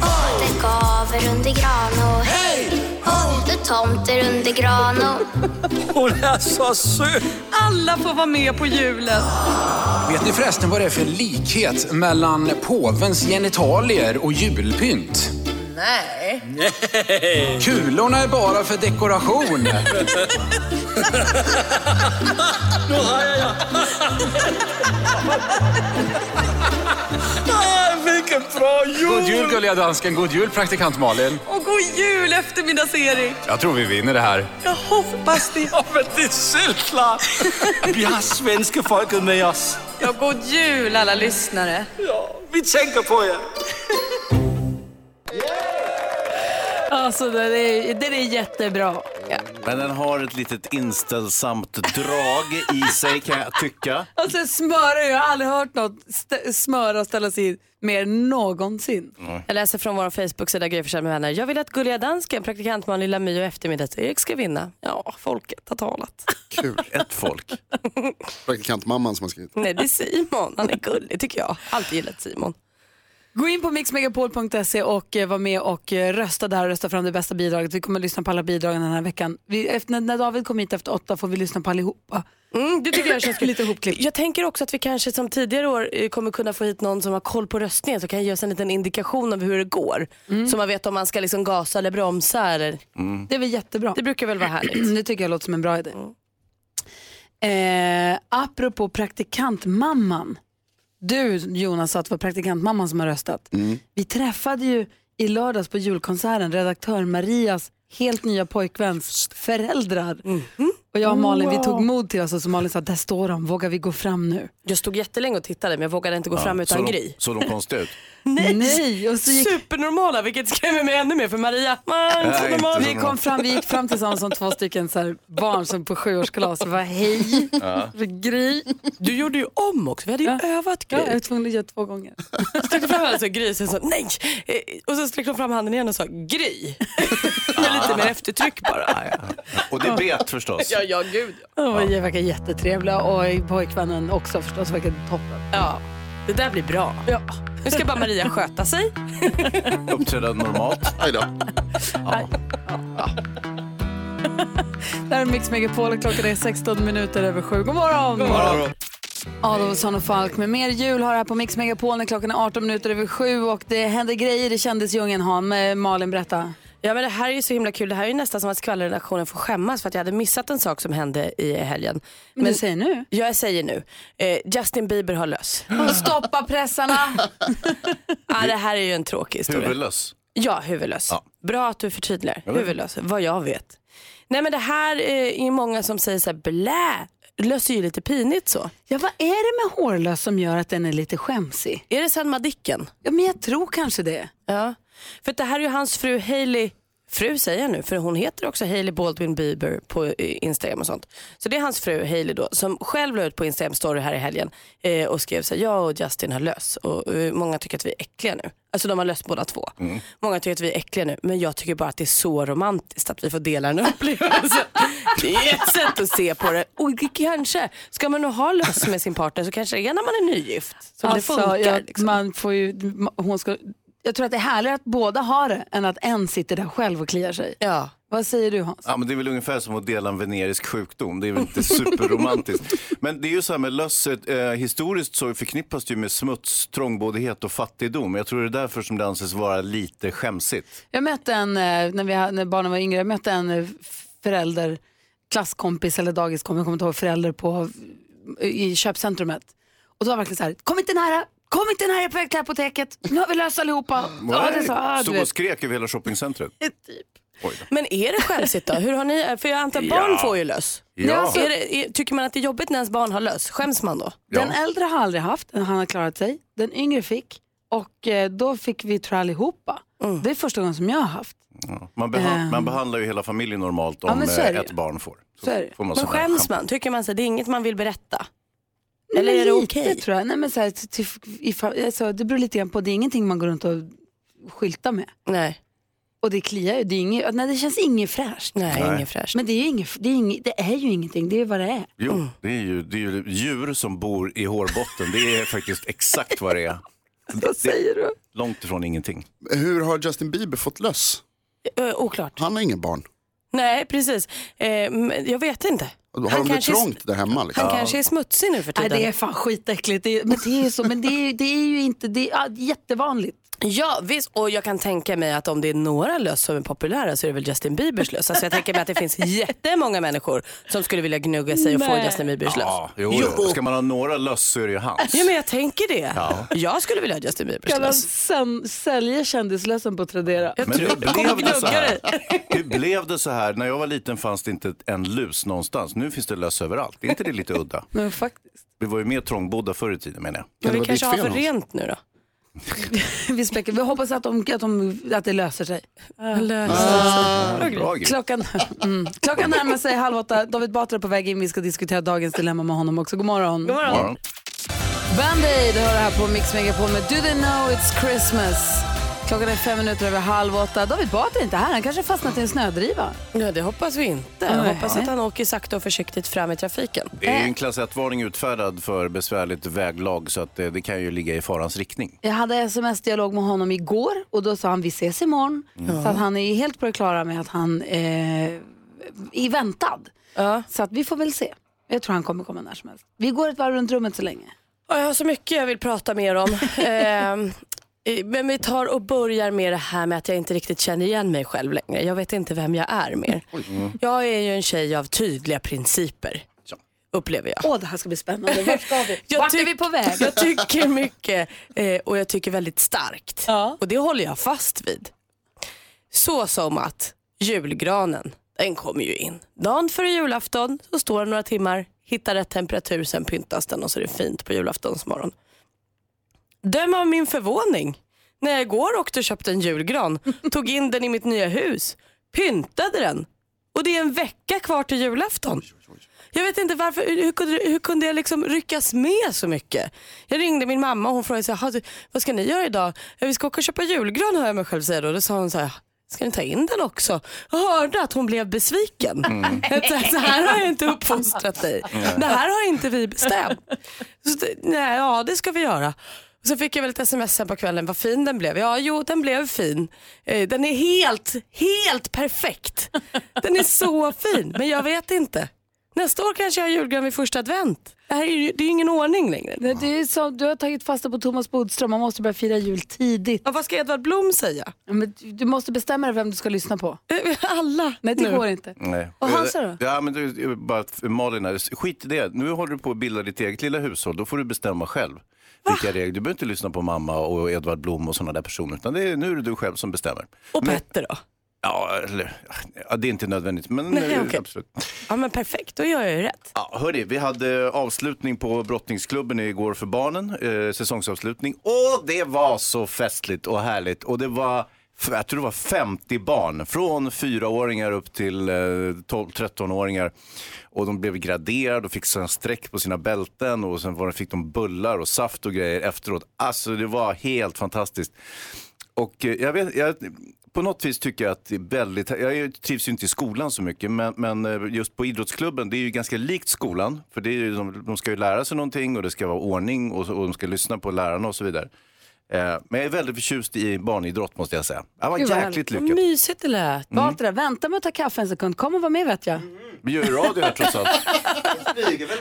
Speaker 16: Och det gaver under gran och det tomter under gran och
Speaker 19: Hon är så söt!
Speaker 6: Alla får vara med på julen.
Speaker 18: Vet ni förresten vad det är för likhet mellan påvens genitalier och julpynt?
Speaker 6: Nej.
Speaker 18: Nej. Kulorna är bara för dekoration.
Speaker 6: Nu har jag ja. ah, vilken bra
Speaker 18: God
Speaker 6: jul!
Speaker 18: jul gulliga dansken, god jul praktikant Malin.
Speaker 6: Och god jul eftermiddags-Erik.
Speaker 18: Jag tror vi vinner det här.
Speaker 6: Jag hoppas det. Ja, men det är självklart.
Speaker 19: Vi har svenska folket med oss.
Speaker 6: Ja, god jul alla lyssnare.
Speaker 19: Vi tänker på er.
Speaker 2: Ja,
Speaker 1: Alltså, den är, den är jättebra.
Speaker 4: Men den har ett litet inställsamt drag i sig kan jag tycka.
Speaker 2: Och sen Alltså, smöra, jag har aldrig hört något st- smöra och ställa sig i mer än någonsin.
Speaker 11: Jag läser från vår Facebook-sida Gry Forssell med vänner. Jag vill att Gulliga Dansken, praktikantman Lilla My och eftermiddags-Erik ska vinna. Ja, folket har talat.
Speaker 13: Kul.
Speaker 4: Ett folk.
Speaker 13: Praktikantmamman som har skrivit.
Speaker 11: Nej, det är Simon. Han är gullig tycker jag. Alltid gillat Simon.
Speaker 2: Gå in på mixmegapol.se och eh, var med och eh, rösta där och rösta fram det bästa bidraget. Vi kommer att lyssna på alla bidragen den här veckan. Vi, efter, när- när David kommer hit efter åtta får vi lyssna på allihopa.
Speaker 11: Mm, det tycker jag känns kul.
Speaker 2: Lite hopklippt.
Speaker 11: Jag tänker också att vi kanske som tidigare år eh, kommer kunna få hit någon som har koll på röstningen som kan ge oss en liten indikation av hur det går. Så man vet om man ska liksom gasa eller bromsa. Eller...
Speaker 6: Mm.
Speaker 2: Det är väl jättebra.
Speaker 11: Det brukar väl vara härligt.
Speaker 2: det tycker jag låter som en bra idé. Eh, apropå praktikantmamman. Du Jonas sa att det var praktikantmamman som har röstat. Vi träffade ju i lördags på julkonserten redaktör Marias helt nya pojkväns föräldrar. Och jag och Malin vi
Speaker 11: Mm. Wow.
Speaker 2: tog mod till oss och så Malin sa där står de, vågar vi gå fram nu?
Speaker 11: Jag stod jättelänge och tittade men jag vågade inte gå
Speaker 4: Ja,
Speaker 11: fram utan
Speaker 4: så de-
Speaker 11: Gry.
Speaker 4: Så de konstigt ut?
Speaker 11: Nej,
Speaker 2: Nej, och så gick-
Speaker 11: supernormala vilket skrämmer mig ännu mer för Maria. Man, så
Speaker 4: Nej, inte
Speaker 11: normal.
Speaker 4: så
Speaker 2: Vi, kom fram, vi gick fram tillsammans som två stycken så här, barn som på sjuårskalas och var hej,
Speaker 4: Ja.
Speaker 2: Gry.
Speaker 11: Du gjorde ju om också, vi hade ju övat
Speaker 2: Ja,
Speaker 11: Gry.
Speaker 2: jag var tvungen att göra två gånger.
Speaker 11: sträckte fram handen så Gry sen sa nej. Eh, Och så sträckte hon fram handen igen och sa Gry. Med lite mer eftertryck bara.
Speaker 4: Och det bet förstås.
Speaker 11: Ja, ja, gud.
Speaker 2: Ja. De verkar jättetrevliga och pojkvännen också förstås verkar toppen.
Speaker 11: Ja, det där blir bra. Ja. Nu ska bara Maria sköta sig.
Speaker 4: Uppträda normalt.
Speaker 13: Aj då.
Speaker 2: Det här är Mix Megapol och klockan är 16 minuter över sju. God morgon!
Speaker 6: God morgon.
Speaker 2: Adolfsson och Falk med mer jul har här på Mix Megapol när klockan är 18 minuter över sju och det händer grejer i kändisdjungeln. Han, eh, Malin berätta.
Speaker 11: Ja men det här är ju så himla kul. Det här är ju nästan som att skvallerredaktionen får skämmas för att jag hade missat en sak som hände i helgen.
Speaker 2: Men du säger nu.
Speaker 11: Ja, jag säger nu. Eh, Justin Bieber har löss.
Speaker 2: Stoppa pressarna!
Speaker 11: ah, det här är ju en tråkig historia.
Speaker 4: Huvudlös.
Speaker 11: Ja, huvudlös. Bra att du förtydligar.
Speaker 4: Jag vet.
Speaker 11: Huvudlös, vad jag vet. Nej men det här eh, är många som säger så här, blä, löss är ju lite pinigt så.
Speaker 2: Ja, vad är det med hårlös som gör att den är lite skämsig?
Speaker 11: Är det Selma Dicken?
Speaker 2: Ja, men jag tror kanske det.
Speaker 11: Ja, för att det här är ju hans fru Hailey, fru säger jag nu, för hon heter också Hailey Baldwin Bieber på eh, Instagram och sånt. Så det är hans fru Hailey då som själv la ut på Instagram story här i helgen eh, och skrev så här, jag och Justin har lös och eh, många tycker att vi är äckliga nu. Alltså de har löst båda två. Många tycker att vi är äckliga nu men jag tycker bara att det är så romantiskt att vi får dela den upplevelsen. det är ett sätt att se på det. Och det kanske, ska man nu ha lös med sin partner så kanske det är när man är nygift. Så det funkar.
Speaker 2: Alltså,
Speaker 11: liksom.
Speaker 2: jag, man får ju, ma- hon ska, jag tror att det är härligare att båda har det än att en sitter där själv och kliar sig.
Speaker 11: Ja.
Speaker 2: Vad säger du Hans?
Speaker 4: Ja, men det är väl ungefär som att dela en venerisk sjukdom. Det är väl inte superromantiskt. men det är ju så här med lösset. Eh, historiskt så förknippas det ju med smuts, trångboddhet och fattigdom. Jag tror det är därför som det anses vara lite skämsigt.
Speaker 2: Jag mötte en, eh, när, vi, ha- när barnen var yngre, jag mötte en eh, förälder, klasskompis eller dagiskompis, jag kommer inte ihåg, förälder på, eh, i köpcentrumet. Och då var det verkligen så här, kom inte nära, kom inte nära jag är på väg till apoteket, nu har vi löst allihopa. Ja, det sa, ah, du
Speaker 4: Stod och
Speaker 2: vet.
Speaker 4: skrek över hela shoppingcentret.
Speaker 11: Men är det skämsigt då? Hur har ni, för jag antar att barn
Speaker 4: Ja.
Speaker 11: får ju löss.
Speaker 4: Ja.
Speaker 11: Är det, är, tycker man att det är jobbigt när ens barn har löss? Skäms man då?
Speaker 2: Den äldre har aldrig haft, han har klarat sig. Den yngre fick och eh, då fick vi tror jag allihopa. Det är första gången som jag har haft.
Speaker 4: Ja. Man, beha-
Speaker 2: Ehm.
Speaker 4: man behandlar ju hela familjen normalt
Speaker 2: Ja,
Speaker 4: om
Speaker 2: men så
Speaker 4: eh,
Speaker 2: är det ju.
Speaker 4: ett barn får.
Speaker 2: Så är det.
Speaker 4: får man
Speaker 11: Men
Speaker 4: sån här
Speaker 11: skäms
Speaker 4: schampo.
Speaker 11: man? Tycker man att det är inget man vill berätta?
Speaker 2: Nej,
Speaker 11: Eller
Speaker 2: men
Speaker 11: är det
Speaker 2: lite,
Speaker 11: okej?
Speaker 2: tror jag. Nej, men så här, till, ifall, alltså, det beror lite grann på, det är ingenting man går runt och skyltar med.
Speaker 11: Nej.
Speaker 2: Och det kliar ju, det, är inget, nej, det känns inget fräscht.
Speaker 11: Nej,
Speaker 4: Nej. inget
Speaker 11: fräscht.
Speaker 2: Men det är, ju inget, det, är inget, det är ju ingenting, det är ju vad det är.
Speaker 4: Jo, det, är ju, det är ju djur som bor i hårbotten. Det är faktiskt exakt vad det är.
Speaker 2: Vad säger du?
Speaker 4: Långt ifrån ingenting.
Speaker 13: Hur har Justin Bieber fått löss?
Speaker 11: Ö, Eh, oklart.
Speaker 13: Han har ingen barn.
Speaker 11: Nej, precis. Eh, men jag vet inte. Han
Speaker 13: Har de det
Speaker 11: kanske är s-
Speaker 13: trångt där hemma? Liksom?
Speaker 11: Han kanske är smutsig nu för
Speaker 2: Nej,
Speaker 11: tiden.
Speaker 2: det är fan skitäckligt. Det är, men det är ju så, men det är, det är ju inte, det är ja, jättevanligt.
Speaker 11: Ja visst, och jag kan tänka mig att om det är några löss som är populära så är det väl Justin Biebers löss. Alltså jag tänker mig att det finns jättemånga människor som skulle vilja gnugga sig och få
Speaker 4: Nej.
Speaker 11: Justin Biebers löss.
Speaker 4: Ja, jo, jo. Ska man ha några löss så är det ju hans.
Speaker 11: Ja men jag tänker det.
Speaker 4: Ja.
Speaker 11: Jag skulle vilja ha Justin Biebers
Speaker 2: Kan han
Speaker 11: löss.
Speaker 2: sen, sälja kändislösen på Tradera?
Speaker 4: Men hur blev, det så här? hur blev det så här? När jag var liten fanns det inte en lus någonstans. Nu finns det löss överallt. Är inte det lite udda?
Speaker 2: Men faktiskt.
Speaker 4: Vi var ju mer trångbodda förr i tiden menar jag.
Speaker 11: Men vi kanske har för rent nu då?
Speaker 2: vi, spekulerar. vi hoppas att, de, att, de, att det löser sig.
Speaker 11: Det
Speaker 2: löser
Speaker 1: sig. Bra grej.
Speaker 2: Klockan, mm. Klockan närmar sig halv åtta. David Batra är på väg in. Vi ska diskutera dagens dilemma med honom också. God morgon.
Speaker 1: God morgon. morgon.
Speaker 2: Band-Aid hör det här på Mix Megapol med Do They Know It's Christmas. Klockan är fem minuter över halv åtta. David Batra är inte här. Han kanske har fastnat i en snödriva.
Speaker 11: Ja, det hoppas vi inte.
Speaker 2: Nej.
Speaker 11: Jag hoppas att han åker sakta och försiktigt fram i trafiken.
Speaker 4: Det är ju en klass 1-varning utfärdad för besvärligt väglag så att eh, det kan ju ligga i farans riktning.
Speaker 2: Jag hade sms-dialog med honom igår och då sa han vi ses imorgon.
Speaker 4: Mm.
Speaker 2: Så att han är ju helt på det klara med att han eh, är väntad. Så att vi får väl se. Jag tror han kommer komma när som helst. Vi går ett varv runt rummet så länge.
Speaker 11: Ja, Jag har så mycket jag vill prata med er om. Ehm, eh, Men vi tar och börjar med det här med att jag inte riktigt känner igen mig själv längre. Jag vet inte vem jag är mer. Jag är ju en tjej av tydliga principer, upplever jag.
Speaker 2: Åh, det här ska bli spännande. Vart ska vi?
Speaker 11: Jag
Speaker 2: Vart är
Speaker 11: tyck-
Speaker 2: vi på väg?
Speaker 11: Jag tycker mycket eh, och jag tycker väldigt starkt. Och det håller jag fast vid. Så som att julgranen, den kommer ju in. Dagen före julafton så står den några timmar, hittar rätt temperatur, sen pyntas den och så är det fint på julaftonsmorgon. Döm av min förvåning när jag igår åkte och köpte en julgran, tog in den i mitt nya hus, pyntade den och det är en vecka kvar till julafton. Jag vet inte varför, hur, hur kunde, hur kunde jag liksom ryckas med så mycket? Jag ringde min mamma och hon frågade så här, "Ha, du, vad ska ni göra idag? "Ja, Vi ska åka och köpa julgran hör jag mig själv säga då. Då sa hon så här, ska ni ta in den också? Jag hörde att hon blev besviken.
Speaker 6: Mm.
Speaker 11: Jag tänkte, Så här har jag inte uppfostrat dig.
Speaker 6: Nej.
Speaker 11: Det här har inte vi bestämt. Så, det- nej, ja, det ska vi göra. Och så fick jag väl ett sms sen på kvällen, vad fin den blev. Ja, jo, den blev fin. Eh, Den är helt, helt perfekt. Den är så fin, men jag vet inte. Nästa år kanske jag har julgran vid första advent. Det, här är ju, det är ju ingen ordning längre.
Speaker 2: Nej, det är som, du har tagit fasta på Thomas Bodström. Man måste börja fira jul tidigt.
Speaker 11: vad ska Edvard Blom säga?
Speaker 2: Men du- du måste bestämma dig vem du ska lyssna på.
Speaker 11: Alla.
Speaker 2: Nej, det
Speaker 4: Nu.
Speaker 2: går inte.
Speaker 4: Nej.
Speaker 2: Och Hansa då?
Speaker 4: Ja, men du, jag bara, Malin, här, skit i det. Nu håller du på att bilda ditt eget lilla hushåll. Då får du bestämma själv. Vilka regler. Du behöver inte lyssna på mamma och Edvard Blom och sådana där personer. Utan det är, nu är det du själv som bestämmer.
Speaker 11: Och Petter då?
Speaker 4: Ja, eller, ja, det är inte nödvändigt. Men
Speaker 11: Nej,
Speaker 4: eh,
Speaker 11: okej.
Speaker 4: absolut.
Speaker 11: Ja, men perfekt, då gör jag ju rätt.
Speaker 4: Ja, hörni, vi hade avslutning på brottningsklubben igår för barnen, eh, säsongsavslutning. Och det var så festligt och härligt. Och det var, f- jag tror det var 50 barn, från fyraåringar upp till eh, 12-13-åringar. Och de blev graderade och fick sådana streck på sina bälten och sen var det, fick de bullar och saft och grejer efteråt. Alltså det var helt fantastiskt. Och eh, jag vet, jag, på något vis tycker jag att det är väldigt, jag är- trivs ju inte i skolan så mycket, men, men eh, just på idrottsklubben, det är ju ganska likt skolan. För det är ju, de, de ska ju lära sig någonting och det ska vara ordning och, så- och de ska lyssna på lärarna och så vidare. Eh, men jag är väldigt förtjust i barnidrott måste jag säga. Det var
Speaker 2: Gud, vad
Speaker 4: jäkligt
Speaker 2: härligt.
Speaker 4: lyckat.
Speaker 2: Vad mysigt det lät.
Speaker 4: Mm.
Speaker 2: Batra, vänta med att ta kaffe en sekund. Kom och var med vet jag.
Speaker 4: Vi gör ju radio här trots allt.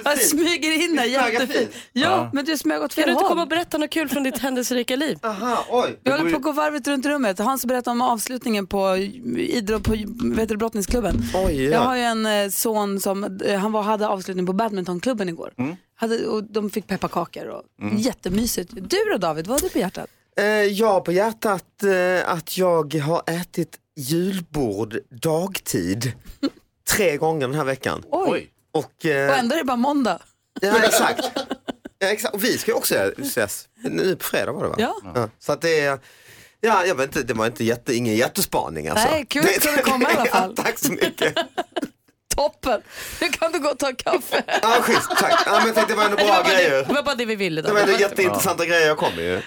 Speaker 2: Jag smyger in där
Speaker 11: Vi smög
Speaker 2: jättefint.
Speaker 11: fint.
Speaker 2: Ja,
Speaker 4: Ja.
Speaker 2: men du smög åt
Speaker 11: Kan
Speaker 2: fel
Speaker 11: du inte
Speaker 2: håll.
Speaker 11: komma och berätta något kul från ditt händelserika liv?
Speaker 2: Aha, oj. Vi håller på att gå varvet runt rummet. Hans berättade om avslutningen på, idrott, på vet du, brottningsklubben.
Speaker 6: Oj, ja.
Speaker 2: Jag har ju en eh, son som eh, han var, hade avslutning på badmintonklubben igår. Hade, och de fick pepparkakor och
Speaker 20: Mm.
Speaker 2: jättemysigt. Du då David, vad har du på hjärtat?
Speaker 20: Eh, jag har på hjärtat eh, att jag har ätit julbord dagtid tre gånger den här veckan.
Speaker 2: Oj.
Speaker 20: Och,
Speaker 2: Och
Speaker 20: eh,
Speaker 2: ändå är det bara måndag.
Speaker 20: ja, exakt. ja, exakt. Och vi ska ju också ses. Nu på fredag var det va?
Speaker 2: Ja.
Speaker 20: så att det är, ja, jag vet inte, det var inte jätte, ingen jättespaning alltså.
Speaker 2: Nej, kul att du kunde komma i alla fall.
Speaker 20: Tack så mycket.
Speaker 2: Toppen. Nu kan du gå och ta kaffe.
Speaker 20: Ja, schysst, tack. Ja, men jag tänkte det var ändå
Speaker 2: Det var
Speaker 20: bra
Speaker 2: bara det-
Speaker 20: grejer.
Speaker 2: det var bara det vi ville,
Speaker 20: Det var ändå
Speaker 2: David.
Speaker 20: jätteintressanta grejer jag kom med ju.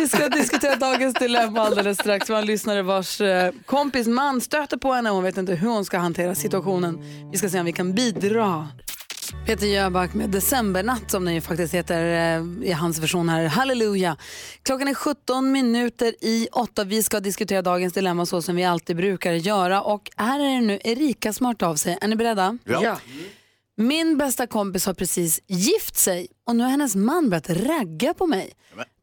Speaker 2: Vi ska diskutera dagens dilemma alldeles strax. Vi har en lyssnare vars eh, kompis man stöter på henne och hon vet inte hur hon ska hantera situationen. Vi ska se om vi kan bidra. Peter Jöback med Decembernatt som den ju faktiskt heter eh, i hans version här. Halleluja! Klockan är 17 minuter i 8. Vi ska diskutera dagens dilemma så som vi alltid brukar göra. Och här är det nu Erika som har hört av sig. Är ni beredda? Min bästa kompis har precis gift sig och nu har hennes man börjat ragga på mig.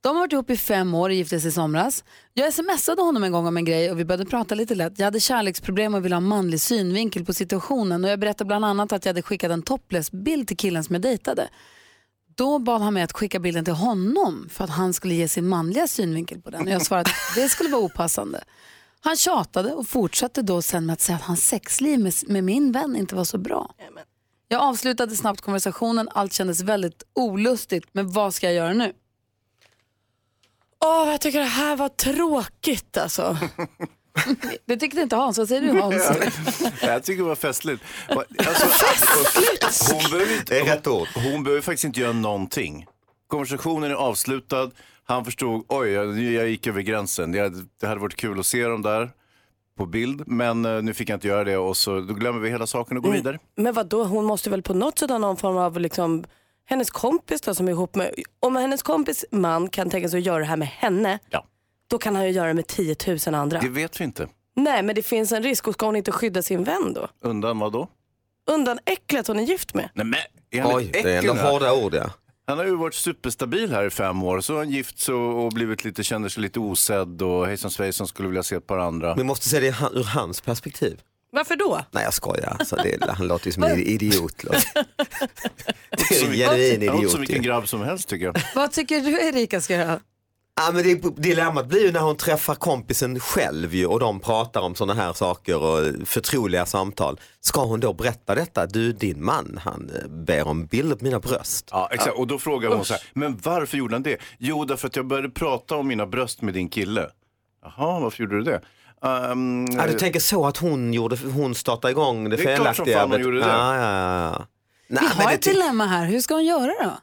Speaker 2: De har varit ihop i fem år och gifte sig i somras. Jag smsade honom en gång om en grej och vi började prata lite lätt. Jag hade kärleksproblem och ville ha manlig synvinkel på situationen och jag berättade bland annat att jag hade skickat en topless bild till killen som jag dejtade. Då bad han mig att skicka bilden till honom för att han skulle ge sin manliga synvinkel på den. Och jag svarade att det skulle vara opassande. Han tjatade och fortsatte då sen med att säga att hans sexliv med, med min vän inte var så bra. Jag avslutade snabbt konversationen, allt kändes väldigt olustigt, men vad ska jag göra nu?
Speaker 11: Åh, jag tycker det här var tråkigt alltså.
Speaker 2: Det tyckte inte Hans. Vad säger du Hans?
Speaker 4: Jag tycker det var festligt. Alltså, hon behöver inte, hon, hon behöver faktiskt inte göra någonting. Konversationen är avslutad. Han förstod, oj, jag, jag gick över gränsen. Jag, det hade varit kul att se dem där på bild, men eh, nu fick jag inte göra det och så då glömmer vi hela saken och går vidare.
Speaker 11: Men vad då? hon måste väl på något sätt ha någon form av liksom, hennes kompis då som är ihop med, om hennes kompis man kan tänka sig att göra det här med henne, då kan han ju göra det med 10 000 andra.
Speaker 4: Det vet vi inte.
Speaker 11: Nej men det finns en risk och ska hon inte skydda sin vän då?
Speaker 4: Undan vad då?
Speaker 11: Undan äcklet hon är gift med.
Speaker 4: Nej, men, är han
Speaker 20: Oj,
Speaker 4: ett
Speaker 20: det är
Speaker 4: äckel
Speaker 20: ändå
Speaker 4: här?
Speaker 20: hårda ord, ja.
Speaker 4: Han har ju varit superstabil här i fem år, så har han gift sig och och blivit lite, känner sig lite osedd och hejsan svejsan skulle vilja se ett par andra.
Speaker 20: Vi måste se det i han- ur hans perspektiv.
Speaker 11: Varför då?
Speaker 20: Nej jag skojar, alltså, det, han låter ju som en idiot. Lars. Det är en genuin
Speaker 4: Han låter
Speaker 20: idiot.
Speaker 4: som vilken
Speaker 20: ju.
Speaker 4: grabb som helst tycker jag.
Speaker 2: Vad tycker du Erika ska göra?
Speaker 20: Ja, men det, dilemmat blir ju när hon träffar kompisen själv ju, och de pratar om sådana här saker och förtroliga samtal. Ska hon då berätta detta? Du, din man, han eh, ber om bild på mina bröst.
Speaker 4: Ja, exakt. Och då frågar hon så här, men varför gjorde han det? Jo, därför att jag började prata om mina bröst med din kille. Jaha, varför gjorde du det? Ehm,
Speaker 20: Ja, du tänker så att hon, gjorde, hon startade igång det
Speaker 4: Det är klart
Speaker 20: felaktiga?
Speaker 4: som fan hon
Speaker 20: bet-
Speaker 4: gjorde det.
Speaker 20: Ja, ja, ja. Nej,
Speaker 2: Vi
Speaker 20: men
Speaker 2: har
Speaker 20: det
Speaker 2: ett
Speaker 20: ty-
Speaker 2: dilemma här. Hur ska hon göra då?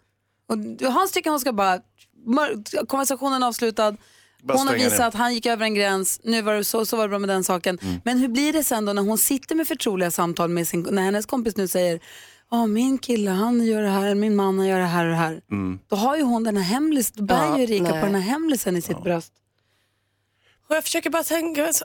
Speaker 2: Och du- Hans tycker hon ska bara, mör- konversationen avslutad,
Speaker 6: Bara
Speaker 2: hon har
Speaker 6: stänga
Speaker 2: visat
Speaker 6: ner.
Speaker 2: att han gick över en gräns, nu var det så, så var det bra med den saken. Men hur blir det sen då när hon sitter med förtroliga samtal med sin, när hennes kompis nu säger, ja min kille han gör det här, min man han gör det här och det här. Då har ju hon den här hemlis, då bär
Speaker 11: Ja,
Speaker 2: ju Erika
Speaker 11: nej.
Speaker 2: på den här hemlisen i sitt bröst.
Speaker 11: Och jag försöker bara tänka, så-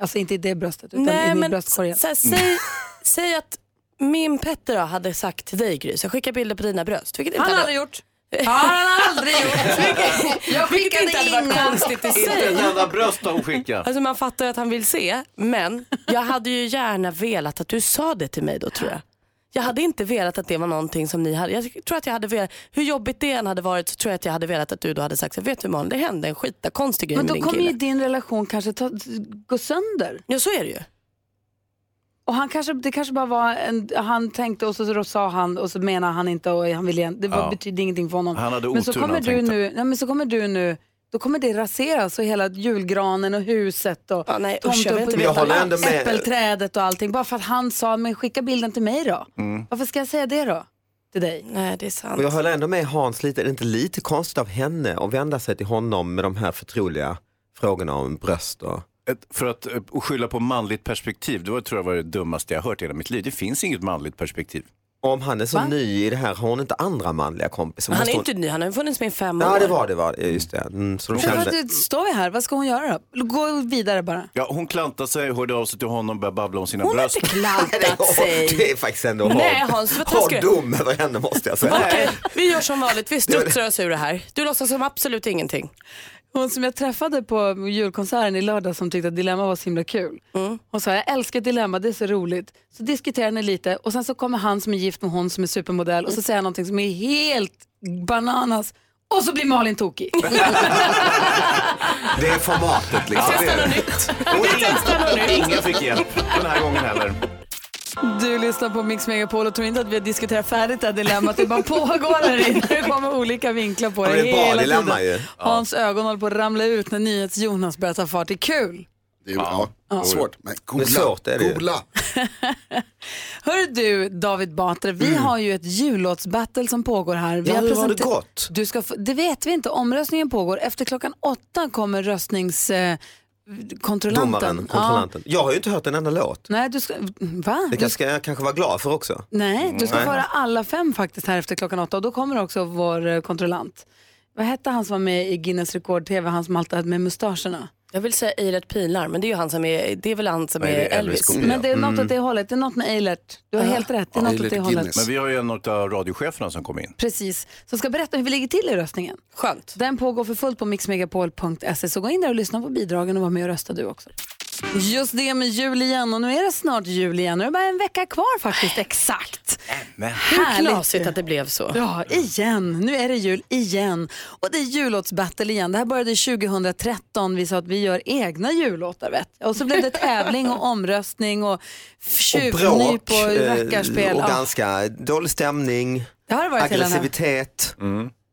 Speaker 2: Alltså inte i det bröstet utan i min bröstkorg.
Speaker 11: Så här, säg, säg att min Petter då hade sagt till dig Gry, så jag skickar bilder på dina bröst. Vilket inte
Speaker 2: Han har
Speaker 11: hade-
Speaker 2: aldrig gjort. Har han aldrig gjort.
Speaker 11: Vilket-
Speaker 2: Jag
Speaker 11: vilket
Speaker 2: skickade
Speaker 11: inte hade varit
Speaker 2: inga.
Speaker 11: konstigt i
Speaker 4: Inte ett
Speaker 11: sig.
Speaker 4: enda bröst har hon skickat.
Speaker 11: Alltså man fattar ju att han vill se, men jag hade ju gärna velat att du sa det till mig då tror jag. Jag hade inte velat att det var någonting som ni hade. Jag tror att jag hade velat, hur jobbigt det än hade varit så tror jag att jag hade velat att du då hade sagt så här, vet du Malin, det hände en skitkonstig grej
Speaker 2: Men
Speaker 11: med
Speaker 2: då
Speaker 11: din
Speaker 2: kommer
Speaker 11: kille.
Speaker 2: ju din relation kanske ta, gå sönder.
Speaker 11: Ja, så är det ju.
Speaker 2: Och han kanske, det kanske bara var en, han tänkte och så, så då sa han och så menar han inte och han ville igen. Det var,
Speaker 4: Ja.
Speaker 2: betydde ingenting för honom.
Speaker 4: Han hade
Speaker 2: men så
Speaker 4: otur när
Speaker 2: kommer
Speaker 4: han
Speaker 2: du
Speaker 4: tänkte.
Speaker 2: nu, nej, men så kommer du nu, då kommer det raseras och hela julgranen och huset och ja,
Speaker 11: nej, usch, jag vill inte
Speaker 20: Men jag veta. håller ändå med.
Speaker 2: äppelträdet och allting. Bara för att han sa, men skicka bilden till mig då.
Speaker 4: Mm.
Speaker 2: Varför ska jag säga det då? Till dig?
Speaker 11: Nej, det är sant.
Speaker 20: Och jag håller ändå med Hans lite, är det inte lite konstigt av henne att vända sig till honom med de här förtroliga frågorna om bröst och...
Speaker 4: Ett, för att eh, och skylla på manligt perspektiv, det var, tror jag var det dummaste jag hört i hela mitt liv. Det finns inget manligt perspektiv.
Speaker 20: Om han är så ny i det här, har hon inte andra manliga kompisar?
Speaker 11: Men han är
Speaker 20: Måste
Speaker 11: ju
Speaker 20: hon-
Speaker 11: inte ny, han har ju funnits med i fem år.
Speaker 20: Ja det var det, var det. just det. Mm, så de
Speaker 2: Men
Speaker 20: kände...
Speaker 2: vad- Står vi här, vad ska hon göra då? Gå vidare bara.
Speaker 4: Ja, hon klantade sig, hörde av sig till honom och började babbla om sina
Speaker 2: Hon har
Speaker 4: bröst.
Speaker 2: inte
Speaker 11: klantat sig.
Speaker 20: Det är faktiskt ändå
Speaker 11: Nej,
Speaker 20: hård-
Speaker 11: Hans, vad
Speaker 20: hård
Speaker 11: taskigt.
Speaker 20: dom över henne måste jag säga.
Speaker 11: Okej, vi gör som vanligt, vi studsar oss ur det här. Du låtsas som absolut ingenting.
Speaker 2: Hon som jag träffade på julkonserten i lördag som tyckte att Dilemma var så himla kul. Hon sa, jag älskar Dilemma, det är så roligt. Så diskuterar ni lite och sen så kommer han som är gift med hon som är supermodell och så säger han någonting som är helt bananas och så blir Malin tokig.
Speaker 20: Det är formatet liksom.
Speaker 4: Ja, det är det. Och
Speaker 2: Vi testar något nytt.
Speaker 4: ingen- Ingen fick hjälp den här gången heller.
Speaker 2: Du lyssnar på Mix Megapol och tror inte att vi har diskuterat färdigt det här dilemmat. Det bara pågår här inne. Det kommer olika vinklar på
Speaker 20: Ja,
Speaker 2: det,
Speaker 20: men det är ett
Speaker 2: hela
Speaker 20: bardilemma
Speaker 2: tiden.
Speaker 20: ju. Ja.
Speaker 2: Hans ögon håller på att ramla ut när NyhetsJonas börjar ta fart. Det är kul.
Speaker 13: Det är, ja.
Speaker 2: Ja.
Speaker 13: svårt. Men googla.
Speaker 20: Men svårt är det ju.
Speaker 13: googla.
Speaker 2: Hör du David Batra, vi har ju ett jullåtsbattle som pågår här. Vi
Speaker 20: Mm. Ja, hur har
Speaker 2: presenter-
Speaker 20: det gått?
Speaker 2: Du ska få, det vet vi inte, omröstningen pågår. Efter klockan åtta kommer röstningskontrollanten. Eh, kontrollanten.
Speaker 20: Domaren, kontrollanten. Jag har ju inte hört en enda låt.
Speaker 2: Ja. Nej, du ska, va?
Speaker 20: Det kanske ska jag kanske vara glad för också.
Speaker 2: Nej, du ska
Speaker 20: Nej.
Speaker 2: få höra alla fem faktiskt här efter klockan åtta och då kommer också vår eh, kontrollant. Vad hette han som var med i Guinness rekord-tv, han som alltid hade med mustascherna?
Speaker 11: Jag vill säga Eilert Pilar, men det är ju han som är, det är väl han som
Speaker 4: Nej,
Speaker 11: är,
Speaker 4: det är Elvis
Speaker 11: Elvis.
Speaker 4: kopia.
Speaker 2: Men det är något
Speaker 20: Mm.
Speaker 2: åt det hållet, det är något med Eilert. Du har helt rätt, det är något åt det hållet.
Speaker 4: Men vi har ju en av radiocheferna som kom in.
Speaker 2: Precis, som ska berätta hur vi ligger till i röstningen.
Speaker 11: Skönt.
Speaker 2: Den pågår för fullt på mixmegapol.se så gå in där och lyssna på bidragen och var med och rösta du också. Just det med jul igen och nu är det snart jul igen. Nu är det bara en vecka kvar faktiskt, exakt.
Speaker 4: Men.
Speaker 11: Hur
Speaker 2: Härligt.
Speaker 11: knasigt att det blev så.
Speaker 2: Ja, igen. Nu är det jul igen. Och det är jullåtsbattle igen. Det här började 2013. Vi sa att vi gör egna jullåtar. Vet. Och så blev det tävling och omröstning och
Speaker 20: Och
Speaker 2: tjuvnyp
Speaker 20: bråk
Speaker 2: och
Speaker 20: eh,
Speaker 2: rackarspel.
Speaker 20: och
Speaker 2: Ja.
Speaker 20: ganska dålig stämning,
Speaker 2: Det har det varit hela den här-
Speaker 20: aggressivitet.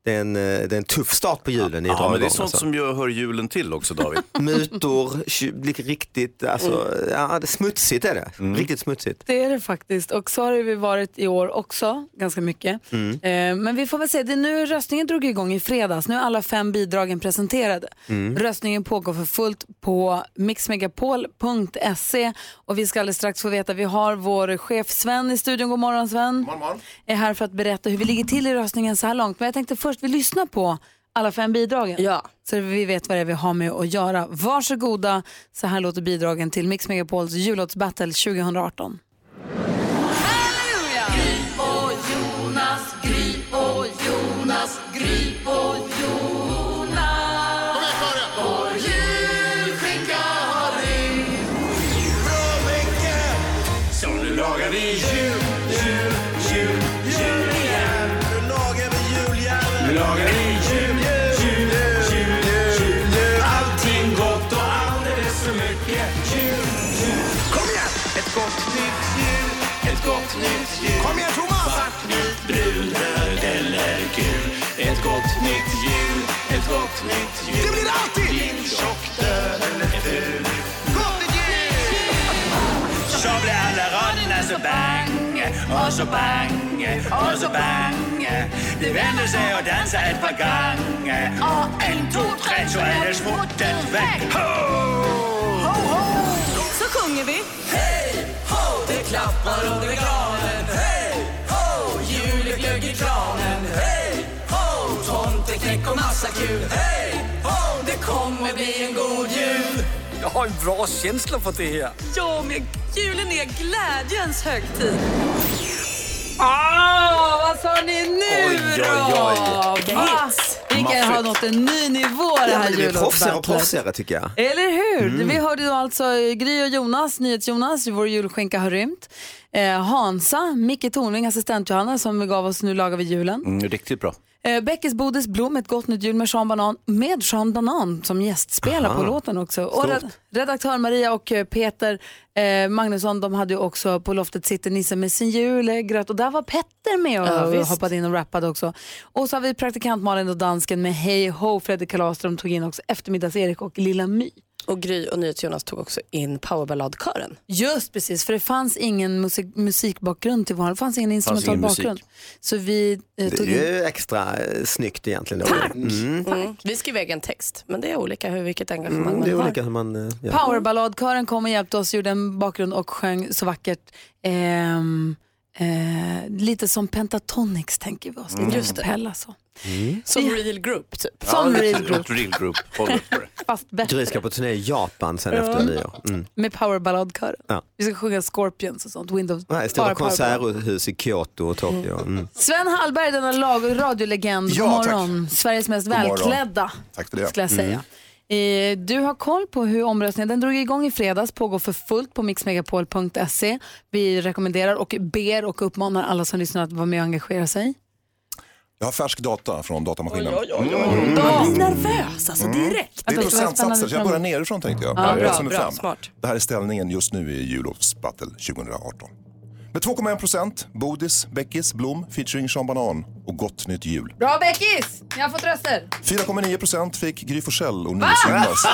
Speaker 20: det är en, eh, det är en tuff start på julen i
Speaker 4: Mm. Ja, men det är
Speaker 20: dragången,
Speaker 4: sånt
Speaker 20: alltså.
Speaker 4: som gör, hör julen till också, David.
Speaker 20: Mutor, tju- lite riktigt, alltså,
Speaker 2: Mm.
Speaker 20: ja, det är smutsigt är det.
Speaker 4: Mm.
Speaker 20: Riktigt smutsigt.
Speaker 2: Det är det faktiskt. Och så har det vi varit i år också, ganska mycket.
Speaker 20: Mm.
Speaker 2: Eh, Men vi får väl se, det är nu röstningen drog igång i fredags. Nu är alla fem bidragen presenterade.
Speaker 6: Mm.
Speaker 2: Röstningen pågår för fullt på mixmegapol.se och vi ska alldeles strax få veta, vi har vår chef Sven i studion. God morgon Sven. Är här för att berätta hur vi ligger till i röstningen så här långt. Men jag tänkte först vi lyssnar på alla fem bidragen. Ja. Så vi vet vad det är vi har med att göra. Varsågoda, så här låter bidragen till Mix Megapols jullåtsbattle 2018.
Speaker 6: och Jonas, Gry och Jonas, Gry och Jonas. Vår julskinka har ringt. Från Bäcke, så nu lagar vi jul, jul, jul, jul igen. Nu lagar vi jul, jävel. Nu lagar vi jul, jul, jul, jul, jul. Allting gott och alldeles för mycket jul, jul. Kom igen! Ett gott nytt jul, ett gott nytt jul. Kom igen Thomas! Svart, vitt, brunröd eller gul. Ett gott nytt jul, ett gott nytt jul. Det blir alltid! Din tjock, död eller ful. Gott nytt jul! Så blir alla raderna så bang, och så bang, och så bang. De vänder sig och dansar ett par gånger. Och en, två, tre, så är det smuttet väck. Ho! Så sjunger vi. Hej, ho! Det klappar under granen. Hej, ho! Jul är glögg i kranen. Hej, ho! Tomteknäck och massa kul. Hej, ho! Det kommer bli en god jul.
Speaker 21: Jag har en bra känsla för det här.
Speaker 6: Ja, men julen är glädjens högtid. Ah, vad sa ni nu
Speaker 2: Oj, oj, oj. Vilka hits. Vi kan ha nått en ny nivå det
Speaker 20: Ja,
Speaker 2: här
Speaker 20: men det blir proffsigare och
Speaker 2: jullåtsbattlet.
Speaker 20: proffsigare tycker jag.
Speaker 2: Eller hur?
Speaker 20: Mm.
Speaker 2: Vi hörde då alltså Gry och Jonas, NyhetsJonas, vår julskinka har rymt. Eh, Hansa, Micke Tornving, assistent Johanna som gav oss Nu lagar vi julen.
Speaker 4: Mm, riktigt bra.
Speaker 2: Eh, Beckes Bodis Blom, ett gott nytt jul med Sean Banan, med Sean Banan som gästspelar
Speaker 6: Aha.
Speaker 2: på låten också. Och
Speaker 6: Stort.
Speaker 2: red, redaktör Maria och eh, Peter eh, Magnusson, de hade ju också på loftet sitter Nisse med sin julgröt och där var Petter med och,
Speaker 11: Ja,
Speaker 2: och
Speaker 11: visst.
Speaker 2: hoppade in och rappade också. Och så har vi praktikant Malin och dansken med Hey Ho, Fredrik Karlström tog in också eftermiddags-Erik och Lilla My.
Speaker 11: Och Gry och NyhetsJonas tog också in powerballadkören.
Speaker 2: Just precis, för det fanns ingen musik, musikbakgrund till vår, det fanns ingen instrumental
Speaker 20: ingen musik.
Speaker 2: bakgrund. Så vi eh,
Speaker 20: Det
Speaker 2: tog
Speaker 20: är
Speaker 2: in
Speaker 20: ju extra eh, snyggt egentligen. Tack! Mm.
Speaker 11: Mm. Vi skrev egen text, men det är olika hur, vilket engagemang
Speaker 20: Mm,
Speaker 11: man
Speaker 20: det är
Speaker 11: har.
Speaker 20: olika hur man eh, gör.
Speaker 2: Powerballadkören kom och hjälpte oss, gjorde en bakgrund och sjöng så vackert. Ehm, eh, lite som Pentatonix tänker vi oss.
Speaker 4: Mm.
Speaker 2: Lite
Speaker 4: Just
Speaker 2: som
Speaker 4: det.
Speaker 2: Pella så.
Speaker 11: Som real group typ.
Speaker 2: Som
Speaker 4: Ja,
Speaker 2: real
Speaker 4: ett-
Speaker 2: group,
Speaker 4: ett Real group. Håller på det.
Speaker 2: fast
Speaker 20: Gry
Speaker 2: bättre.
Speaker 20: ska på turné i Japan sen
Speaker 2: Ja.
Speaker 20: efter nyår. Mm.
Speaker 2: Med powerballadkören.
Speaker 20: Ja.
Speaker 2: Vi ska sjunga Scorpions och sånt. Windows.
Speaker 20: Nej,
Speaker 2: bara
Speaker 20: stora
Speaker 2: powerballad.
Speaker 20: konserthus i Kyoto och Tokyo. Mm.
Speaker 2: Sven Hallberg, denna lag- radiolegend.
Speaker 20: Ja,
Speaker 2: God morgon. Sveriges mest
Speaker 20: God morgon.
Speaker 2: välklädda.
Speaker 20: Tack för det.
Speaker 2: Skulle jag
Speaker 20: Mm.
Speaker 2: säga.
Speaker 22: Mm.
Speaker 2: Eh, Du har koll på hur omröstningen, den drog igång i fredags, pågår för fullt på mixmegapol.se. Vi rekommenderar och ber och uppmanar alla som lyssnar att vara med och engagera sig.
Speaker 22: Mm. Jag har färsk data från datamaskinen.
Speaker 2: Jag
Speaker 22: Mm.
Speaker 2: blir nervös
Speaker 11: alltså
Speaker 2: direkt.
Speaker 22: Det är procentsatser, så jag börjar nerifrån tänkte jag.
Speaker 11: Ja, bra,
Speaker 22: Eftersom det är
Speaker 11: bra,
Speaker 22: fram.
Speaker 11: smart.
Speaker 22: Det här är ställningen just nu i Julovs battle 2018. Med 2,1 procent, Bodis, Beckis, Blom featuring Sean Banan och Gott Nytt Jul.
Speaker 2: Bra Beckis! Ni har fått röster.
Speaker 22: 4,9 procent fick Gry Forssell och
Speaker 2: Va?
Speaker 22: NyhetsJonas.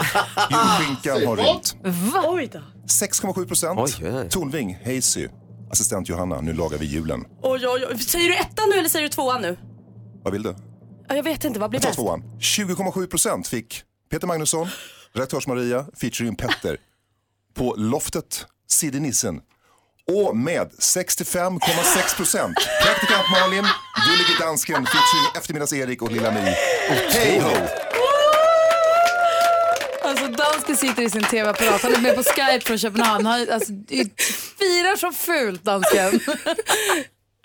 Speaker 22: Julskinkan har rymt.
Speaker 2: Va?
Speaker 11: Oj då.
Speaker 22: 6,7 procent, Tornving, Hazy, assistent Johanna, nu lagar vi julen.
Speaker 11: Oj, oj, oj. Säger du ettan nu eller säger du tvåan nu?
Speaker 22: Vad vill du?
Speaker 11: Ja, Jag vet inte, vad blir
Speaker 22: Jag tar
Speaker 11: bäst?
Speaker 22: tvåan. 20,7 procent fick Peter Magnusson, redaktörs-Maria, featuring Petter på loftet, Sidde Nissen. Och med 65,6 procent, praktikant Malin, Gullige Dansken, featuring eftermiddags-Erik och Lilla My. Och hej ho!
Speaker 2: Alltså dansken sitter i sin tv-apparat, han är med på Skype från Köpenhamn. Han alltså, firar så fult dansken.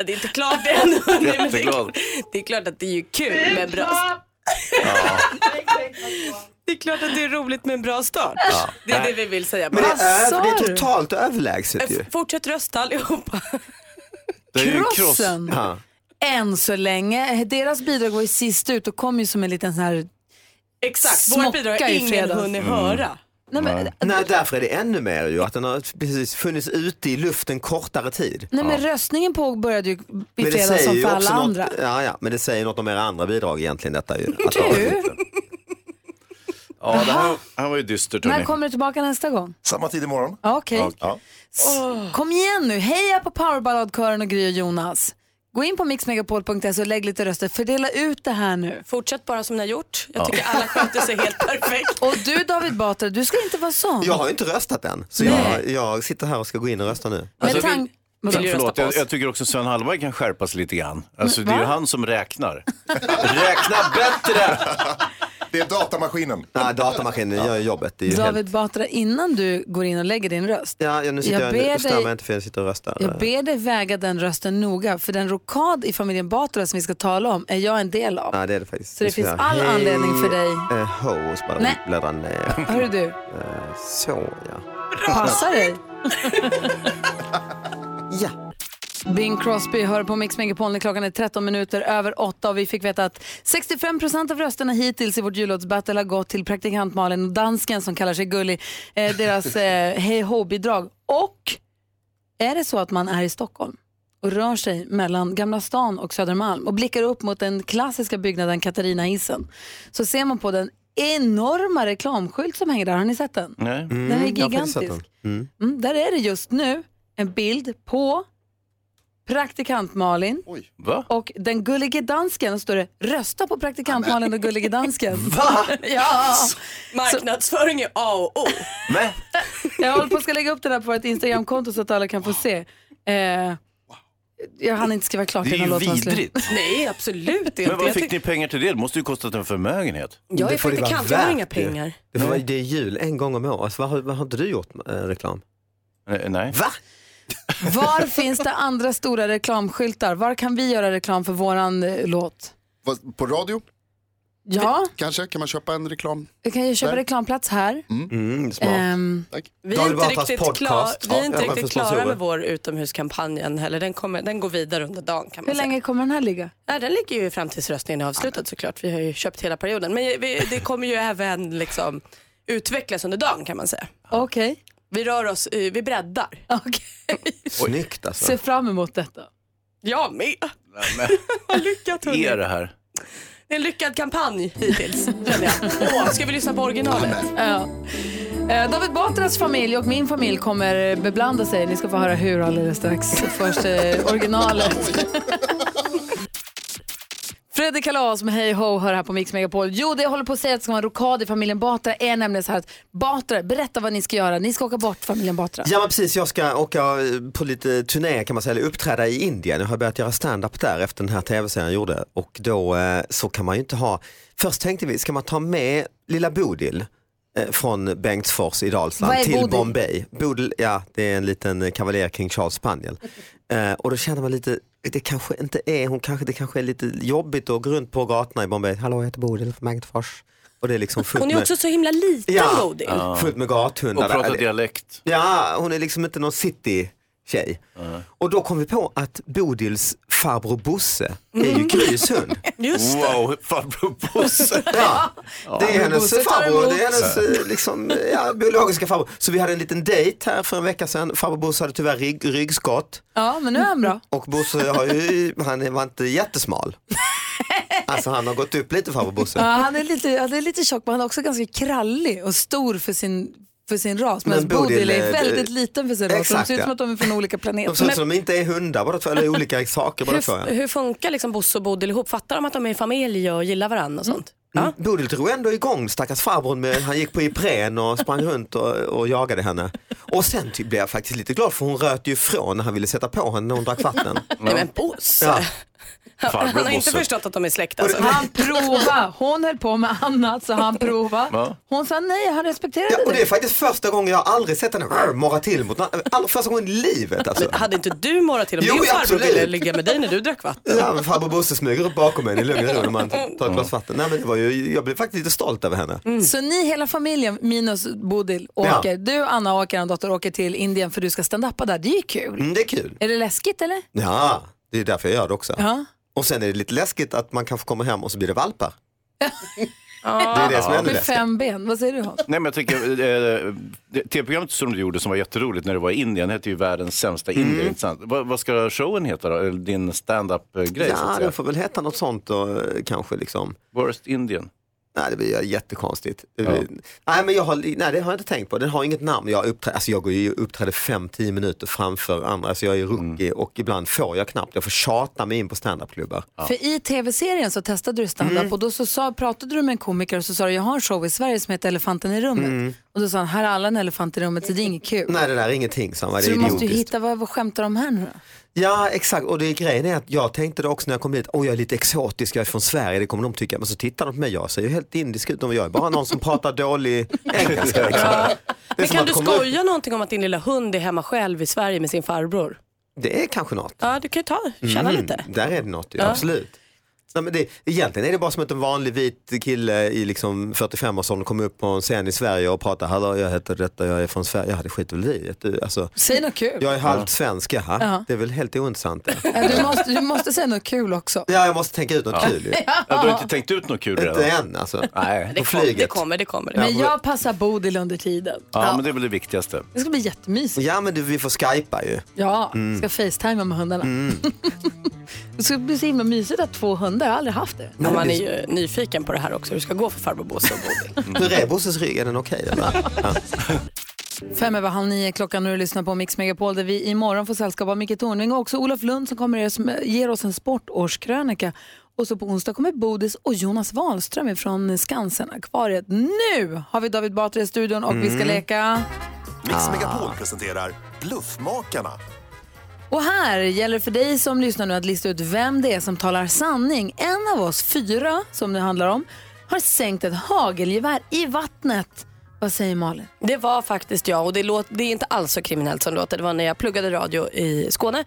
Speaker 11: Det är inte klart än. Nej, men det är-
Speaker 6: Jätteglad.
Speaker 11: Det är klart att det är ju kul med bra... Det är klart att det är roligt med en bra start.
Speaker 20: Ja.
Speaker 11: Det är det vi vill säga.
Speaker 20: Men det
Speaker 11: Vad
Speaker 20: är,
Speaker 11: sa
Speaker 20: över- det är
Speaker 11: du?
Speaker 20: totalt överlägset ju.
Speaker 11: F- Fortsätt rösta allihopa.
Speaker 2: Det är ju en kross. Krossen.
Speaker 20: Ja.
Speaker 2: Än så länge. Deras bidrag var ju sist ut och kom ju som en liten sån här
Speaker 11: Exakt,
Speaker 2: Smocka
Speaker 11: vårt bidrag
Speaker 2: i
Speaker 11: har ingen
Speaker 2: fredags.
Speaker 11: hunnit
Speaker 2: Mm.
Speaker 11: höra.
Speaker 2: Nej, men,
Speaker 20: Nej. därför är det ännu mer ju att den har precis funnits ute i luften kortare tid.
Speaker 2: Nej, men
Speaker 20: Ja.
Speaker 2: röstningen påbörjade ju i
Speaker 20: Men det
Speaker 2: fredags
Speaker 20: säger
Speaker 2: som
Speaker 20: ju
Speaker 2: för alla
Speaker 20: också något- eh,
Speaker 2: andra.
Speaker 20: Ja, ja, men det säger något om era andra bidrag egentligen detta ju. Att ha-
Speaker 4: Ja, det här, här var ju dystert.
Speaker 2: När
Speaker 4: hörni.
Speaker 2: kommer du tillbaka nästa gång?
Speaker 22: Samma tid imorgon.
Speaker 2: Ja, Okej.
Speaker 4: Ja.
Speaker 2: S- Kom igen nu, heja på Powerballadkören och Gry och Jonas. Gå in på mixmegapol.se och lägg lite röster. Fördela ut det här nu.
Speaker 11: Fortsätt bara som ni har gjort.
Speaker 20: Jag Ja. tycker
Speaker 11: alla sköter sig helt perfekt.
Speaker 2: Och du David Batra, du ska inte vara sån.
Speaker 20: Jag har ju inte röstat än, så jag, jag sitter här och ska gå in och rösta nu.
Speaker 2: Men tank...
Speaker 4: Sen, förlåt, jag, jag tycker också Sven Hallberg kan skärpas lite grann. Alltså,
Speaker 2: Men,
Speaker 4: det är ju
Speaker 2: va?
Speaker 4: han som räknar. Räkna bättre!
Speaker 22: Det är datamaskinen.
Speaker 20: Nej, datamaskinen gör jobbet. Det är ju helt...
Speaker 2: David Batra, innan du går in och lägger din röst.
Speaker 20: Ja, ja, nu sitter
Speaker 2: jag
Speaker 20: jag,
Speaker 2: ber
Speaker 20: jag stör mig
Speaker 2: dig-
Speaker 20: inte för jag sitter och röstar.
Speaker 2: Jag ber dig väga den rösten noga, för den rokad i familjen Batra som vi ska tala om är jag en del av.
Speaker 20: Ja, det är det faktiskt.
Speaker 2: Så det
Speaker 20: Nu ska
Speaker 2: finns
Speaker 20: jag-
Speaker 2: all anledning för dig.
Speaker 20: Eh, ho, och så bara
Speaker 2: Nej.
Speaker 20: bläddra ner.
Speaker 2: Hörru du,
Speaker 20: Eh, så ja.
Speaker 2: passa dig. Bing Crosby hör på Mix Megapol när klockan är 13 minuter över 8 och vi fick veta att 65% av rösterna hittills i vårt jullåtsbattle har gått till praktikant Malin och dansken som kallar sig Gullig, eh, deras eh, hej ho-bidrag. Och är det så att man är i Stockholm och rör sig mellan Gamla stan och Södermalm och blickar upp mot den klassiska byggnaden Katarina-hissen så ser man på den enorma reklamskylt som hänger där. Har ni sett den?
Speaker 4: Nej.
Speaker 2: Den är gigantisk.
Speaker 20: Mm.
Speaker 2: Mm, där är det just nu en bild på praktikant Malin
Speaker 4: Va?
Speaker 2: och den gullige dansken. Och står det rösta på praktikant Malin och gullige dansken.
Speaker 11: Va?
Speaker 2: ja.
Speaker 11: Marknadsföring är A och O.
Speaker 2: Jag håller på att ska lägga upp det där på vårt Instagramkonto så att alla kan få se. Eh, jag hann inte skriva klart
Speaker 4: Det är
Speaker 2: innan
Speaker 4: ju
Speaker 2: låten var slut.
Speaker 4: vidrigt.
Speaker 11: Nej, absolut
Speaker 4: Men var fick ni pengar till det? Det måste ju kostat en förmögenhet.
Speaker 11: Jag är
Speaker 20: Det får det vara
Speaker 11: praktikant, jag har
Speaker 20: värt
Speaker 11: inga
Speaker 20: ju.
Speaker 11: pengar.
Speaker 20: Det, får, vara- det är jul en gång om året. Vad, har- vad har inte du gjort eh, reklam?
Speaker 4: Nej.
Speaker 20: Va?
Speaker 2: Var finns det andra stora reklamskyltar? Var kan vi göra reklam för våran eh, låt?
Speaker 13: Vad, På radio?
Speaker 2: Ja.
Speaker 13: Kanske, kan man köpa en reklam?
Speaker 2: Jag kan ju köpa
Speaker 13: Där.
Speaker 2: reklamplats här.
Speaker 20: Mm,
Speaker 2: Ehm,
Speaker 11: Vi är
Speaker 13: David
Speaker 11: inte
Speaker 13: Batras
Speaker 11: riktigt,
Speaker 13: podcast.
Speaker 11: klar, vi
Speaker 13: Ja,
Speaker 11: är inte
Speaker 13: även för
Speaker 11: riktigt klara
Speaker 13: sponsorer.
Speaker 11: med vår utomhuskampanj än heller. Den, kommer, den går vidare under dagen kan man
Speaker 2: hur
Speaker 11: säga.
Speaker 2: länge kommer den här ligga?
Speaker 11: Nej, den ligger ju fram tills röstningen är avslutad såklart. Vi har ju köpt hela perioden. Men vi, det kommer ju även liksom, utvecklas under dagen kan man säga.
Speaker 2: Okej.
Speaker 11: Vi rör oss, eh, vi breddar.
Speaker 20: Snyggt alltså.
Speaker 2: Se fram emot detta.
Speaker 11: Jag med.
Speaker 4: Men,
Speaker 11: Lycka till.
Speaker 4: är det här?
Speaker 11: Det är en lyckad kampanj hittills, känner jag. Åh, ska vi lyssna på originalet?
Speaker 2: Ja. Eh, David Batras familj och min familj kommer beblanda sig. Ni ska få höra hur alldeles strax. Först eh, originalet. Fredrik Kalas med Hej Ho hör här på Mix Megapol. Jo, det jag håller på att säga att det ska vara en rokad i familjen Batra är nämligen så här att Batra, berätta vad ni ska göra. Ni ska åka bort familjen Batra.
Speaker 20: Ja men precis, jag ska åka på lite turné kan man säga, eller uppträda i Indien. Jag har börjat göra stand-up där efter den här tv-serien jag gjorde och då eh, så kan man ju inte ha, först tänkte vi, ska man ta med lilla Bodil eh, från Bengtsfors i
Speaker 2: Vad är
Speaker 20: Dalsland till
Speaker 2: Bodil?
Speaker 20: Bombay. Bodil, ja det är en liten kavaljer kring Charles Spaniel. Eh, och då känner man lite, det kanske inte är, hon kanske, det kanske är lite jobbigt att gå runt på gatorna i Bombay, hallå jag heter Bodil från Bengtsfors. Och det är liksom fullt
Speaker 11: Hon är
Speaker 20: med-
Speaker 11: också så himla liten,
Speaker 20: Ja.
Speaker 11: Bodil.
Speaker 20: Ja. Fullt med gathundar.
Speaker 4: Och prata
Speaker 20: där.
Speaker 4: dialekt.
Speaker 20: Ja, hon är liksom inte någon city-tjej. Och då kom vi på att Bodils farbror Bosse är
Speaker 23: Mm.
Speaker 20: ju Grys hund.
Speaker 11: Just
Speaker 4: det. Wow, farbror Bosse.
Speaker 20: Ja, det är
Speaker 23: Ja.
Speaker 20: hennes
Speaker 23: Bosse tar
Speaker 20: farbror, det är
Speaker 23: emot.
Speaker 20: hennes eh, liksom, ja, biologiska farbror. Så vi hade en liten dejt här för en vecka sedan. Farbror Bosse hade tyvärr rygg, ryggskott
Speaker 2: Ja, men nu är han bra.
Speaker 20: och Bosse har ju, han var inte jättesmal. Alltså han har gått upp lite farbror
Speaker 2: Ja,
Speaker 20: Bosse.
Speaker 2: han, är lite, han är lite tjock men han är också ganska krallig och stor för sin, för sin ras.
Speaker 20: Men
Speaker 2: Medan Bodil
Speaker 20: Bodil
Speaker 2: är
Speaker 20: är-
Speaker 2: väldigt liten för sin ras. De
Speaker 20: Exakt,
Speaker 2: ser ut som
Speaker 20: ja.
Speaker 2: att de är från olika planeter.
Speaker 20: De ser ut som de inte är hundar båda två, eller olika saker båda två. ja.
Speaker 11: Hur, hur funkar liksom Bosse och Bodil ihop? Fattar de att de är familj och gillar varandra och sånt?
Speaker 20: Mm. Bodil drog ändå igång stackars farbrorn, med, han gick på Ipren och sprang runt och, och jagade henne. Och sen typ blev jag faktiskt lite glad för hon röt ju ifrån när han ville sätta på henne när hon drack vatten.
Speaker 11: Nej men Bosse.
Speaker 20: Ja.
Speaker 11: Han, han har inte
Speaker 20: Bosse.
Speaker 11: förstått att de är släkt alltså.
Speaker 2: Han prova. Hon höll på med annat så han prova.
Speaker 20: Va?
Speaker 2: Hon sa nej, han respekterade
Speaker 20: Ja, och det är
Speaker 2: det.
Speaker 20: faktiskt första gången jag har aldrig sett henne rrr, morra till mot någon, all, första gången i livet alltså.
Speaker 11: Hade inte du morrat till om
Speaker 20: Jo,
Speaker 11: din farbror
Speaker 20: absolut.
Speaker 11: ville ligga med dig när du drack vatten?
Speaker 20: Ja, men farbror Bosse smyger upp bakom en i lugn och ro när man tar ett glas
Speaker 2: Mm.
Speaker 20: vatten. Nej, men det var ju, jag blev faktiskt lite stolt över henne.
Speaker 2: Så ni hela familjen minus Bodil
Speaker 20: Ja.
Speaker 2: åker. Du, Anna och Åker, och dotter åker till Indien för du ska stand-upa där. Det är ju kul.
Speaker 20: Mm, det är kul.
Speaker 2: Är det läskigt eller?
Speaker 20: Ja, det är därför jag gör det också.
Speaker 2: Ja.
Speaker 20: Och sen är det lite läskigt att man kanske kommer hem och så blir det valpar.
Speaker 2: Ja.
Speaker 4: Det är det som är ännu
Speaker 2: Med fem ben. Vad säger du Hans?
Speaker 4: Nej, men jag tänker, eh, det- tv-programmet som du gjorde som var jätteroligt när du var i Indien hette ju Världens sämsta
Speaker 20: Mm.
Speaker 4: Indien. inte sant? Vad, vad ska showen heta då? Eller din stand-up-grej? så att
Speaker 20: Ja,
Speaker 4: säga.
Speaker 20: den får väl heta något sånt då, eh, kanske. Liksom.
Speaker 4: Worst Indian?
Speaker 20: Nej, det blir jättekonstigt. Eh, Nej, men jag har, nej, det har jag inte tänkt på. Den har inget namn. Jag, uppträder, alltså jag går ju uppträder 5-10 minuter framför andra, så jag är
Speaker 4: Mm.
Speaker 20: rookie och ibland får jag knappt. Jag får tjata mig in på standupklubbar.
Speaker 2: För i tv-serien så testade du stand-up
Speaker 20: Mm.
Speaker 2: och då så sa, pratade du med en komiker och så sa du jag har en show i Sverige som heter Elefanten i rummet.
Speaker 20: Mm.
Speaker 2: Och då sa han här är alla en elefant i rummet så det är inget kul.
Speaker 20: Nej, det där är ingenting. Samma, det
Speaker 2: så
Speaker 20: är
Speaker 2: du måste ju
Speaker 20: idiotiskt.
Speaker 2: hitta vad, vad skämtar de här nu då?
Speaker 20: Ja exakt och det grejen är att jag tänkte det också när jag kom dit, åh jag är lite exotisk, jag är från Sverige, det kommer de tycka. Men så tittar de på mig, jag ser ju helt indisk ut, jag är bara någon som pratar dålig engelska. Liksom. Det, är
Speaker 11: Men
Speaker 20: som
Speaker 11: kan
Speaker 20: att
Speaker 11: du
Speaker 20: komma upp-
Speaker 11: skoja någonting om att din lilla hund är hemma själv i Sverige med sin farbror?
Speaker 20: det är kanske något.
Speaker 11: Ja, du kan ju ta, känna
Speaker 20: Mm,
Speaker 11: lite.
Speaker 20: Där är det något, ju,
Speaker 11: Ja.
Speaker 20: absolut. Nej, men det, egentligen är det bara som att en vanlig vit kille i liksom 45-årsåldern kommer upp på en scen i Sverige och pratar, hallå jag heter detta, jag är från Sverige, ja det skiter väl vi i, att du, alltså,
Speaker 2: Säg något kul.
Speaker 20: Jag är halvt svensk, jaha.
Speaker 2: Ja.
Speaker 20: Det är väl helt ointressant det.
Speaker 2: Ja, Du måste, du måste säga något kul också.
Speaker 20: Ja, jag måste tänka ut något
Speaker 2: Ja.
Speaker 20: kul ju.
Speaker 2: Ja, du har inte
Speaker 4: tänkt ut något kul
Speaker 20: inte
Speaker 4: redan?
Speaker 20: än alltså.
Speaker 4: Nej.
Speaker 11: Det, kom, det kommer, det kommer.
Speaker 2: Men jag passar Bodil under tiden.
Speaker 4: Ja, men det är väl det viktigaste.
Speaker 2: Det ska bli jättemysigt.
Speaker 20: Ja, men du, vi får skypa ju.
Speaker 2: Ja,
Speaker 20: Mm.
Speaker 2: ska facetimea med hundarna.
Speaker 20: Mm.
Speaker 2: Det ska bli så himla mysigt att ha två hundar, jag har aldrig haft det.
Speaker 11: Men man är ju nyfiken på det här också, hur det ska gå för farbror Bosse och Bodil.
Speaker 20: Hur är Bosses rygg? Är den okej eller? Ja.
Speaker 2: Fem över halv nio klockan när du lyssnar på Mix Megapol där vi imorgon får sällskap av Micke Tornving och också Olof Lund som kommer som ger oss en sportårskrönika. Och så på onsdag kommer Bodis och Jonas Wahlström från Skansen-akvariet. Nu har vi David Batra i studion och vi ska
Speaker 22: Mm.
Speaker 2: leka...
Speaker 22: Mix Megapol presenterar Bluffmakarna.
Speaker 2: Och här gäller det för dig som lyssnar nu att lista ut vem det är som talar sanning. En av oss fyra, som det handlar om, har sänkt ett hagelgevär i vattnet. Vad säger Malin?
Speaker 11: Det var faktiskt jag och det, låt, det är inte alls så kriminellt som det låter. Det var när jag pluggade radio i Skåne.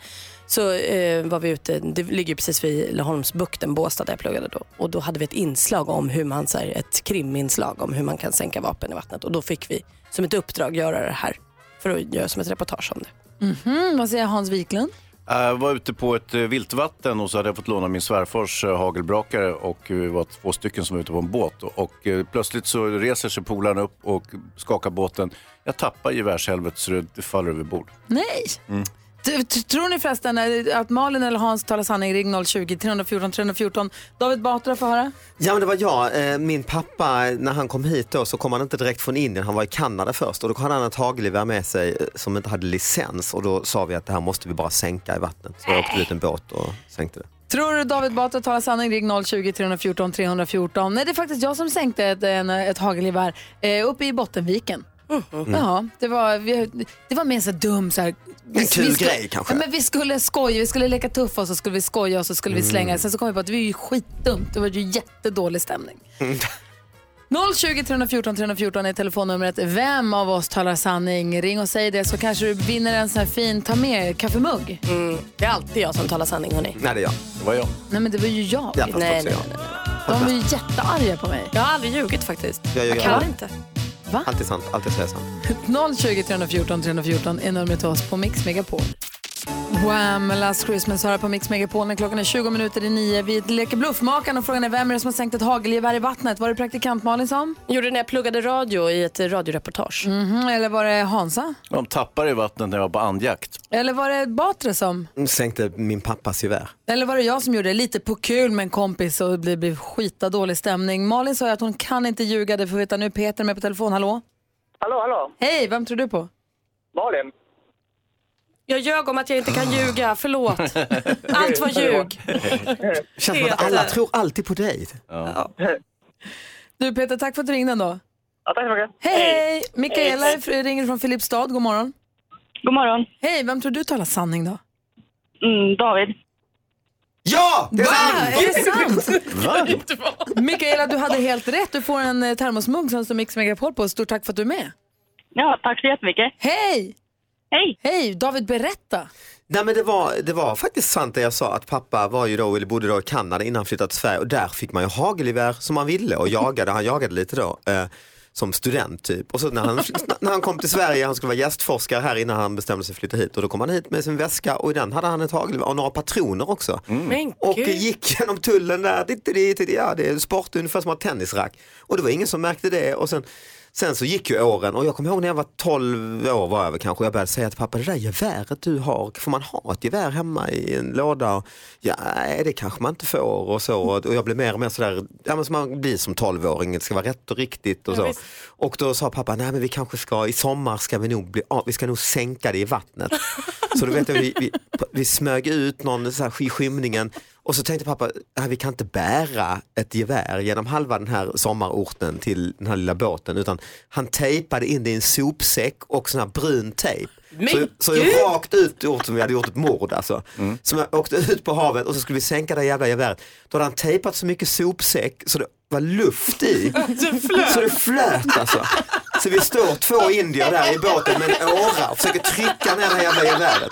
Speaker 11: Så eh, var vi ute, det ligger ju precis vid Laholmsbukten, Båstad där jag pluggade då. Och då hade vi ett inslag om hur man, så här, ett kriminslag om hur man kan sänka vapen i vattnet. Och då fick vi som ett uppdrag göra det här. För att göra som ett reportage om det.
Speaker 2: Mhm, vad säger Hans Wiklund?
Speaker 4: Jag var ute på ett eh, viltvatten och så hade jag fått låna min svärfars eh, hagelbrakare och eh, vi var två stycken som var ute på en båt. Och eh, plötsligt så reser sig polaren upp och skakar båten. Jag tappar gevärshelvetet så det faller över bord.
Speaker 2: Nej!
Speaker 4: Mm.
Speaker 2: T- t- Tror ni förresten eh, att Malin eller Hans talar sanning? Ring 020-314 314. David Batra får höra.
Speaker 20: Ja men det var jag, Eh, min pappa när han kom hit då så kom han inte direkt från Indien, han var i Kanada först och då hade han ett hagelgevär med sig eh, som inte hade licens och då sa vi att det här måste vi bara sänka i vattnet. Så jag åkte dit en båt och sänkte det.
Speaker 2: Tror du David Batra talar sanning? Ring 020-314 314. Nej, det är faktiskt jag som sänkte ett, en, ett hagelgevär eh, uppe i Bottenviken.
Speaker 20: Mm.
Speaker 2: Ja, det var, vi, det var mer en så här dum så här, vi-
Speaker 20: kul
Speaker 2: vi skulle-
Speaker 20: grej, kanske.
Speaker 2: Ja, men vi skulle skoja, vi skulle leka tuffa och så skulle vi skoja och så skulle vi
Speaker 20: Mm.
Speaker 2: slänga. Sen så kom vi på att det var ju skitdumt, det var ju jättedålig stämning. 020 314 314 är telefonnumret. Vem av oss talar sanning? Ring och säg det så kanske du vinner en sån här fin ta med kaffemugg.
Speaker 20: Mm.
Speaker 11: Det är alltid jag som talar sanning hörni.
Speaker 20: Nej det är jag.
Speaker 4: Det var jag.
Speaker 2: Nej men det var ju jag.
Speaker 20: Ja, fast också
Speaker 11: nej, nej,
Speaker 20: jag.
Speaker 11: nej,
Speaker 2: De var ju jättearga på mig.
Speaker 11: Jag har aldrig ljugit faktiskt.
Speaker 20: Jag ljuger
Speaker 11: kan
Speaker 20: aldrig.
Speaker 11: inte.
Speaker 20: Alltid sant, alltid säger jag sant.
Speaker 2: 020 314 314 är numret till oss på Mix Megapol. Wham! Last Christmas hör på Mix Megapol när klockan är 20 minuter i nio. Vi leker bluffmakaren och frågan är vem är det som har sänkt ett hagelgevär i vattnet? Var det praktikant Malin som?
Speaker 11: Gjorde det när jag pluggade radio i ett eh, radioreportage.
Speaker 20: Mm.
Speaker 2: Mhm, eller var det Hansa?
Speaker 4: De tappar i vattnet när jag var på andjakt.
Speaker 2: Eller var det Batre som?
Speaker 20: Sänkte min pappas gevär.
Speaker 2: Eller var det jag som gjorde det? Lite på kul med en kompis och det blev, blev skita dålig stämning. Malin sa ju att hon kan inte ljuga. Det får vi veta nu. Peter är med på telefon. Hallå?
Speaker 6: Hallå, hallå.
Speaker 2: Hej, vem tror du på?
Speaker 6: Malin.
Speaker 11: Jag ljög om att jag inte kan ljuga, förlåt. Allt var ljug.
Speaker 20: Känns som att alla tror alltid på dig.
Speaker 2: Du Peter, tack för att du ringde ändå.
Speaker 6: Ja, tack så mycket.
Speaker 2: Hej!
Speaker 6: Hej.
Speaker 2: Mikaela
Speaker 6: Hej.
Speaker 2: fr- ringer från Filipstad. God morgon.
Speaker 6: God morgon.
Speaker 2: Hej, vem tror du talar sanning då?
Speaker 6: Mm, David.
Speaker 20: Ja!
Speaker 6: Det är sant!
Speaker 2: Är det sant?
Speaker 6: Va?
Speaker 2: Mikaela, du hade helt rätt. Du får en eh, termosmugg som står Mix Megapol på. Stort tack för att du är med.
Speaker 6: Ja, tack så jättemycket.
Speaker 2: Hej!
Speaker 6: Hej!
Speaker 2: Hej! David, berätta.
Speaker 20: Nej men det var, det var faktiskt sant det jag sa att pappa var ju då, eller bodde då i Kanada innan han flyttade till Sverige och där fick man ju hagelgevär som man ville och jagade, han jagade lite då. Eh, som student typ. Och så när han, när han kom till Sverige, han skulle vara gästforskare här innan han bestämde sig för att flytta hit. Och då kom han hit med sin väska och i den hade han ett hagelgevär och några patroner också.
Speaker 11: Men
Speaker 20: Och
Speaker 11: gud.
Speaker 20: gick genom tullen där, dit, dit, dit, ja, det är sport ungefär som att ha tennisrack. Och det var ingen som märkte det. Och sen, sen så gick ju åren och jag kommer ihåg när jag var 12 år var jag väl kanske, jag började säga till pappa, det där geväret du har, får man ha ett gevär hemma i en låda? Och, ja, nej, det kanske man inte får och så. Och jag blev mer och mer sådär, ja men som man blir som 12-åring, det ska vara rätt och riktigt och
Speaker 11: Ja,
Speaker 20: så.
Speaker 11: visst.
Speaker 20: Och då sa pappa, nej men vi kanske ska, i sommar ska vi nog bli av, vi ska nog sänka det i vattnet. Så då vet jag, vi, vi, vi smög ut någon så här i skymningen och så tänkte pappa, nej, vi kan inte bära ett gevär genom halva den här sommarorten till den här lilla båten utan han tejpade in det i en sopsäck och sån här brun tejp.
Speaker 6: Men
Speaker 20: Så, så
Speaker 6: gud!
Speaker 20: jag rakt ut gjort som vi hade gjort ett mord alltså. Så jag åkte ut på havet och så skulle vi sänka det jävla geväret. Då hade han tejpat så mycket sopsäck så det var luft i. Så det flöt alltså. Så vi står två indier där i båten med en åra och försöker trycka ner det här jävla geväret.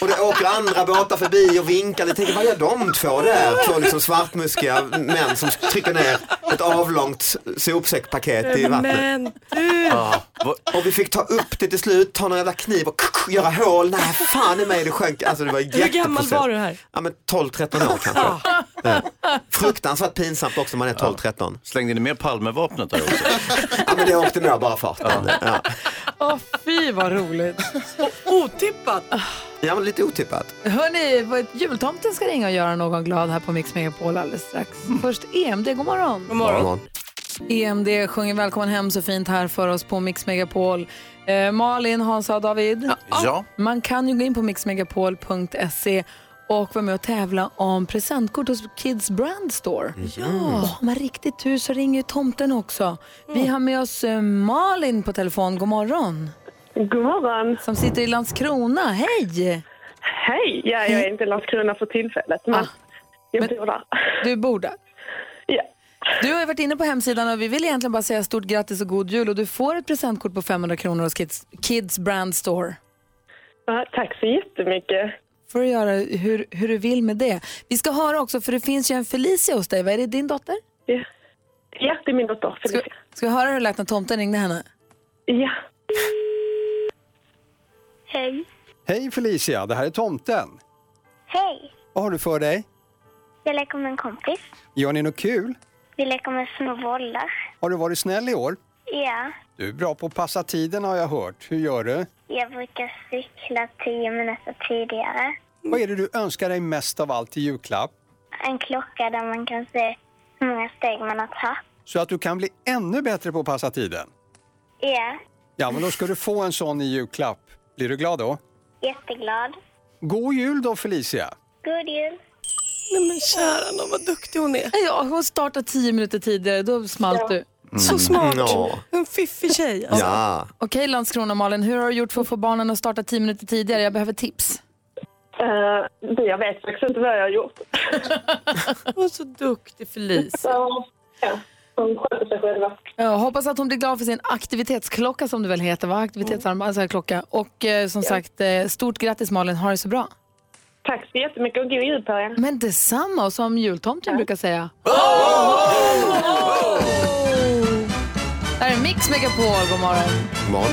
Speaker 20: Och det åker andra båtar förbi och vinkar. Jag tänker, vad gör de två där? Två liksom svartmuskiga män som trycker ner ett avlångt sopsäckpaket i vattnet.
Speaker 11: Men du.
Speaker 20: Ja. Och vi fick ta upp det till slut, ta någon jävla kniv och kuck, göra hål. Nej, fan i mig det sjönk. Alltså det var en
Speaker 11: Hur gammal
Speaker 20: jätteprocess.
Speaker 11: var du här? Ah.
Speaker 20: Ja men 12-13 år kanske. Ja. Fruktansvärt pinsamt också när man är 12-13.
Speaker 4: Slängde ni med Palmevapnet där också?
Speaker 20: ja men det åkte med av bara farten. Ja.
Speaker 2: Åh, fy vad roligt.
Speaker 11: Otippat.
Speaker 20: ja men lite otippat.
Speaker 2: Hörni, vad- jultomten ska ringa och göra någon glad här på Mix Megapol alldeles strax. Först EMD, god morgon.
Speaker 11: God
Speaker 2: EMD sjunger Välkommen hem så fint här för oss på Mix Megapol. Eh, Malin, Hansa, David.
Speaker 4: Ja.
Speaker 2: Man kan ju gå in på mixmegapol.se och vara med och tävla om presentkort hos Kids Brand Store. Ja. Och har man riktigt tur så ringer ju tomten också. Vi har med oss eh, Malin på telefon. God morgon.
Speaker 10: God morgon.
Speaker 2: Som sitter i Landskrona. Hej!
Speaker 10: Hej! Ja, jag är inte i Landskrona för tillfället, men jag bor där.
Speaker 2: Du bor där? Du har ju varit inne på hemsidan och vi vill egentligen bara säga stort grattis och god jul och du får ett presentkort på 500 kronor hos Kids, Kids Brand Store.
Speaker 10: Ja, tack så jättemycket.
Speaker 2: får du göra hur, hur du vill med det. Vi ska höra också, för det finns ju en Felicia hos dig. Vad är det, din dotter?
Speaker 10: Ja, ja det är min dotter Felicia. Ska,
Speaker 2: ska vi höra hur det lät när tomten ringde henne?
Speaker 10: Ja.
Speaker 16: Hej.
Speaker 24: Hej Felicia, det här är tomten.
Speaker 16: Hej.
Speaker 24: Vad har du för dig?
Speaker 16: Jag leker med en kompis.
Speaker 24: Gör ni något kul?
Speaker 16: Vi leker med snowbollar.
Speaker 24: Har du varit snäll i år?
Speaker 16: Ja.
Speaker 24: Du är bra på att passa tiden har jag hört. Hur gör du?
Speaker 16: Jag brukar cykla tio minuter tidigare.
Speaker 24: Vad är det du önskar dig mest av allt i julklapp?
Speaker 16: En klocka där man kan se hur många steg man har tagit.
Speaker 24: Så att du kan bli ännu bättre på att passa tiden.
Speaker 16: Ja.
Speaker 24: Ja, men då ska du få en sån i julklapp. Blir du glad då?
Speaker 16: Jätteglad.
Speaker 24: God jul då Felicia!
Speaker 16: God jul.
Speaker 11: Nej men kära nån, vad duktig hon är.
Speaker 2: Ja, hon startade tio minuter tidigare, då smalt du.
Speaker 11: Så smart.
Speaker 24: Ja.
Speaker 11: En fiffig tjej. Alltså.
Speaker 24: Ja.
Speaker 2: Okej Landskrona Malin, hur har du gjort för att få barnen att starta tio minuter tidigare? Jag behöver tips.
Speaker 10: Eh, det jag vet faktiskt inte vad jag har gjort.
Speaker 11: Hon är så duktig Felicia.
Speaker 10: Så, ja, de sköter sig själva.
Speaker 2: Jag hoppas att hon blir glad för sin aktivitetsklocka som det väl heter, va? Aktivitetsarmband, alltså klocka. Och eh, som sagt, eh, stort grattis Malin, ha det så bra.
Speaker 10: Tack så jättemycket och god jul på er.
Speaker 2: Men detsamma, och som jultomten brukar säga. Oh! Det här är Mix Megapol, god morgon.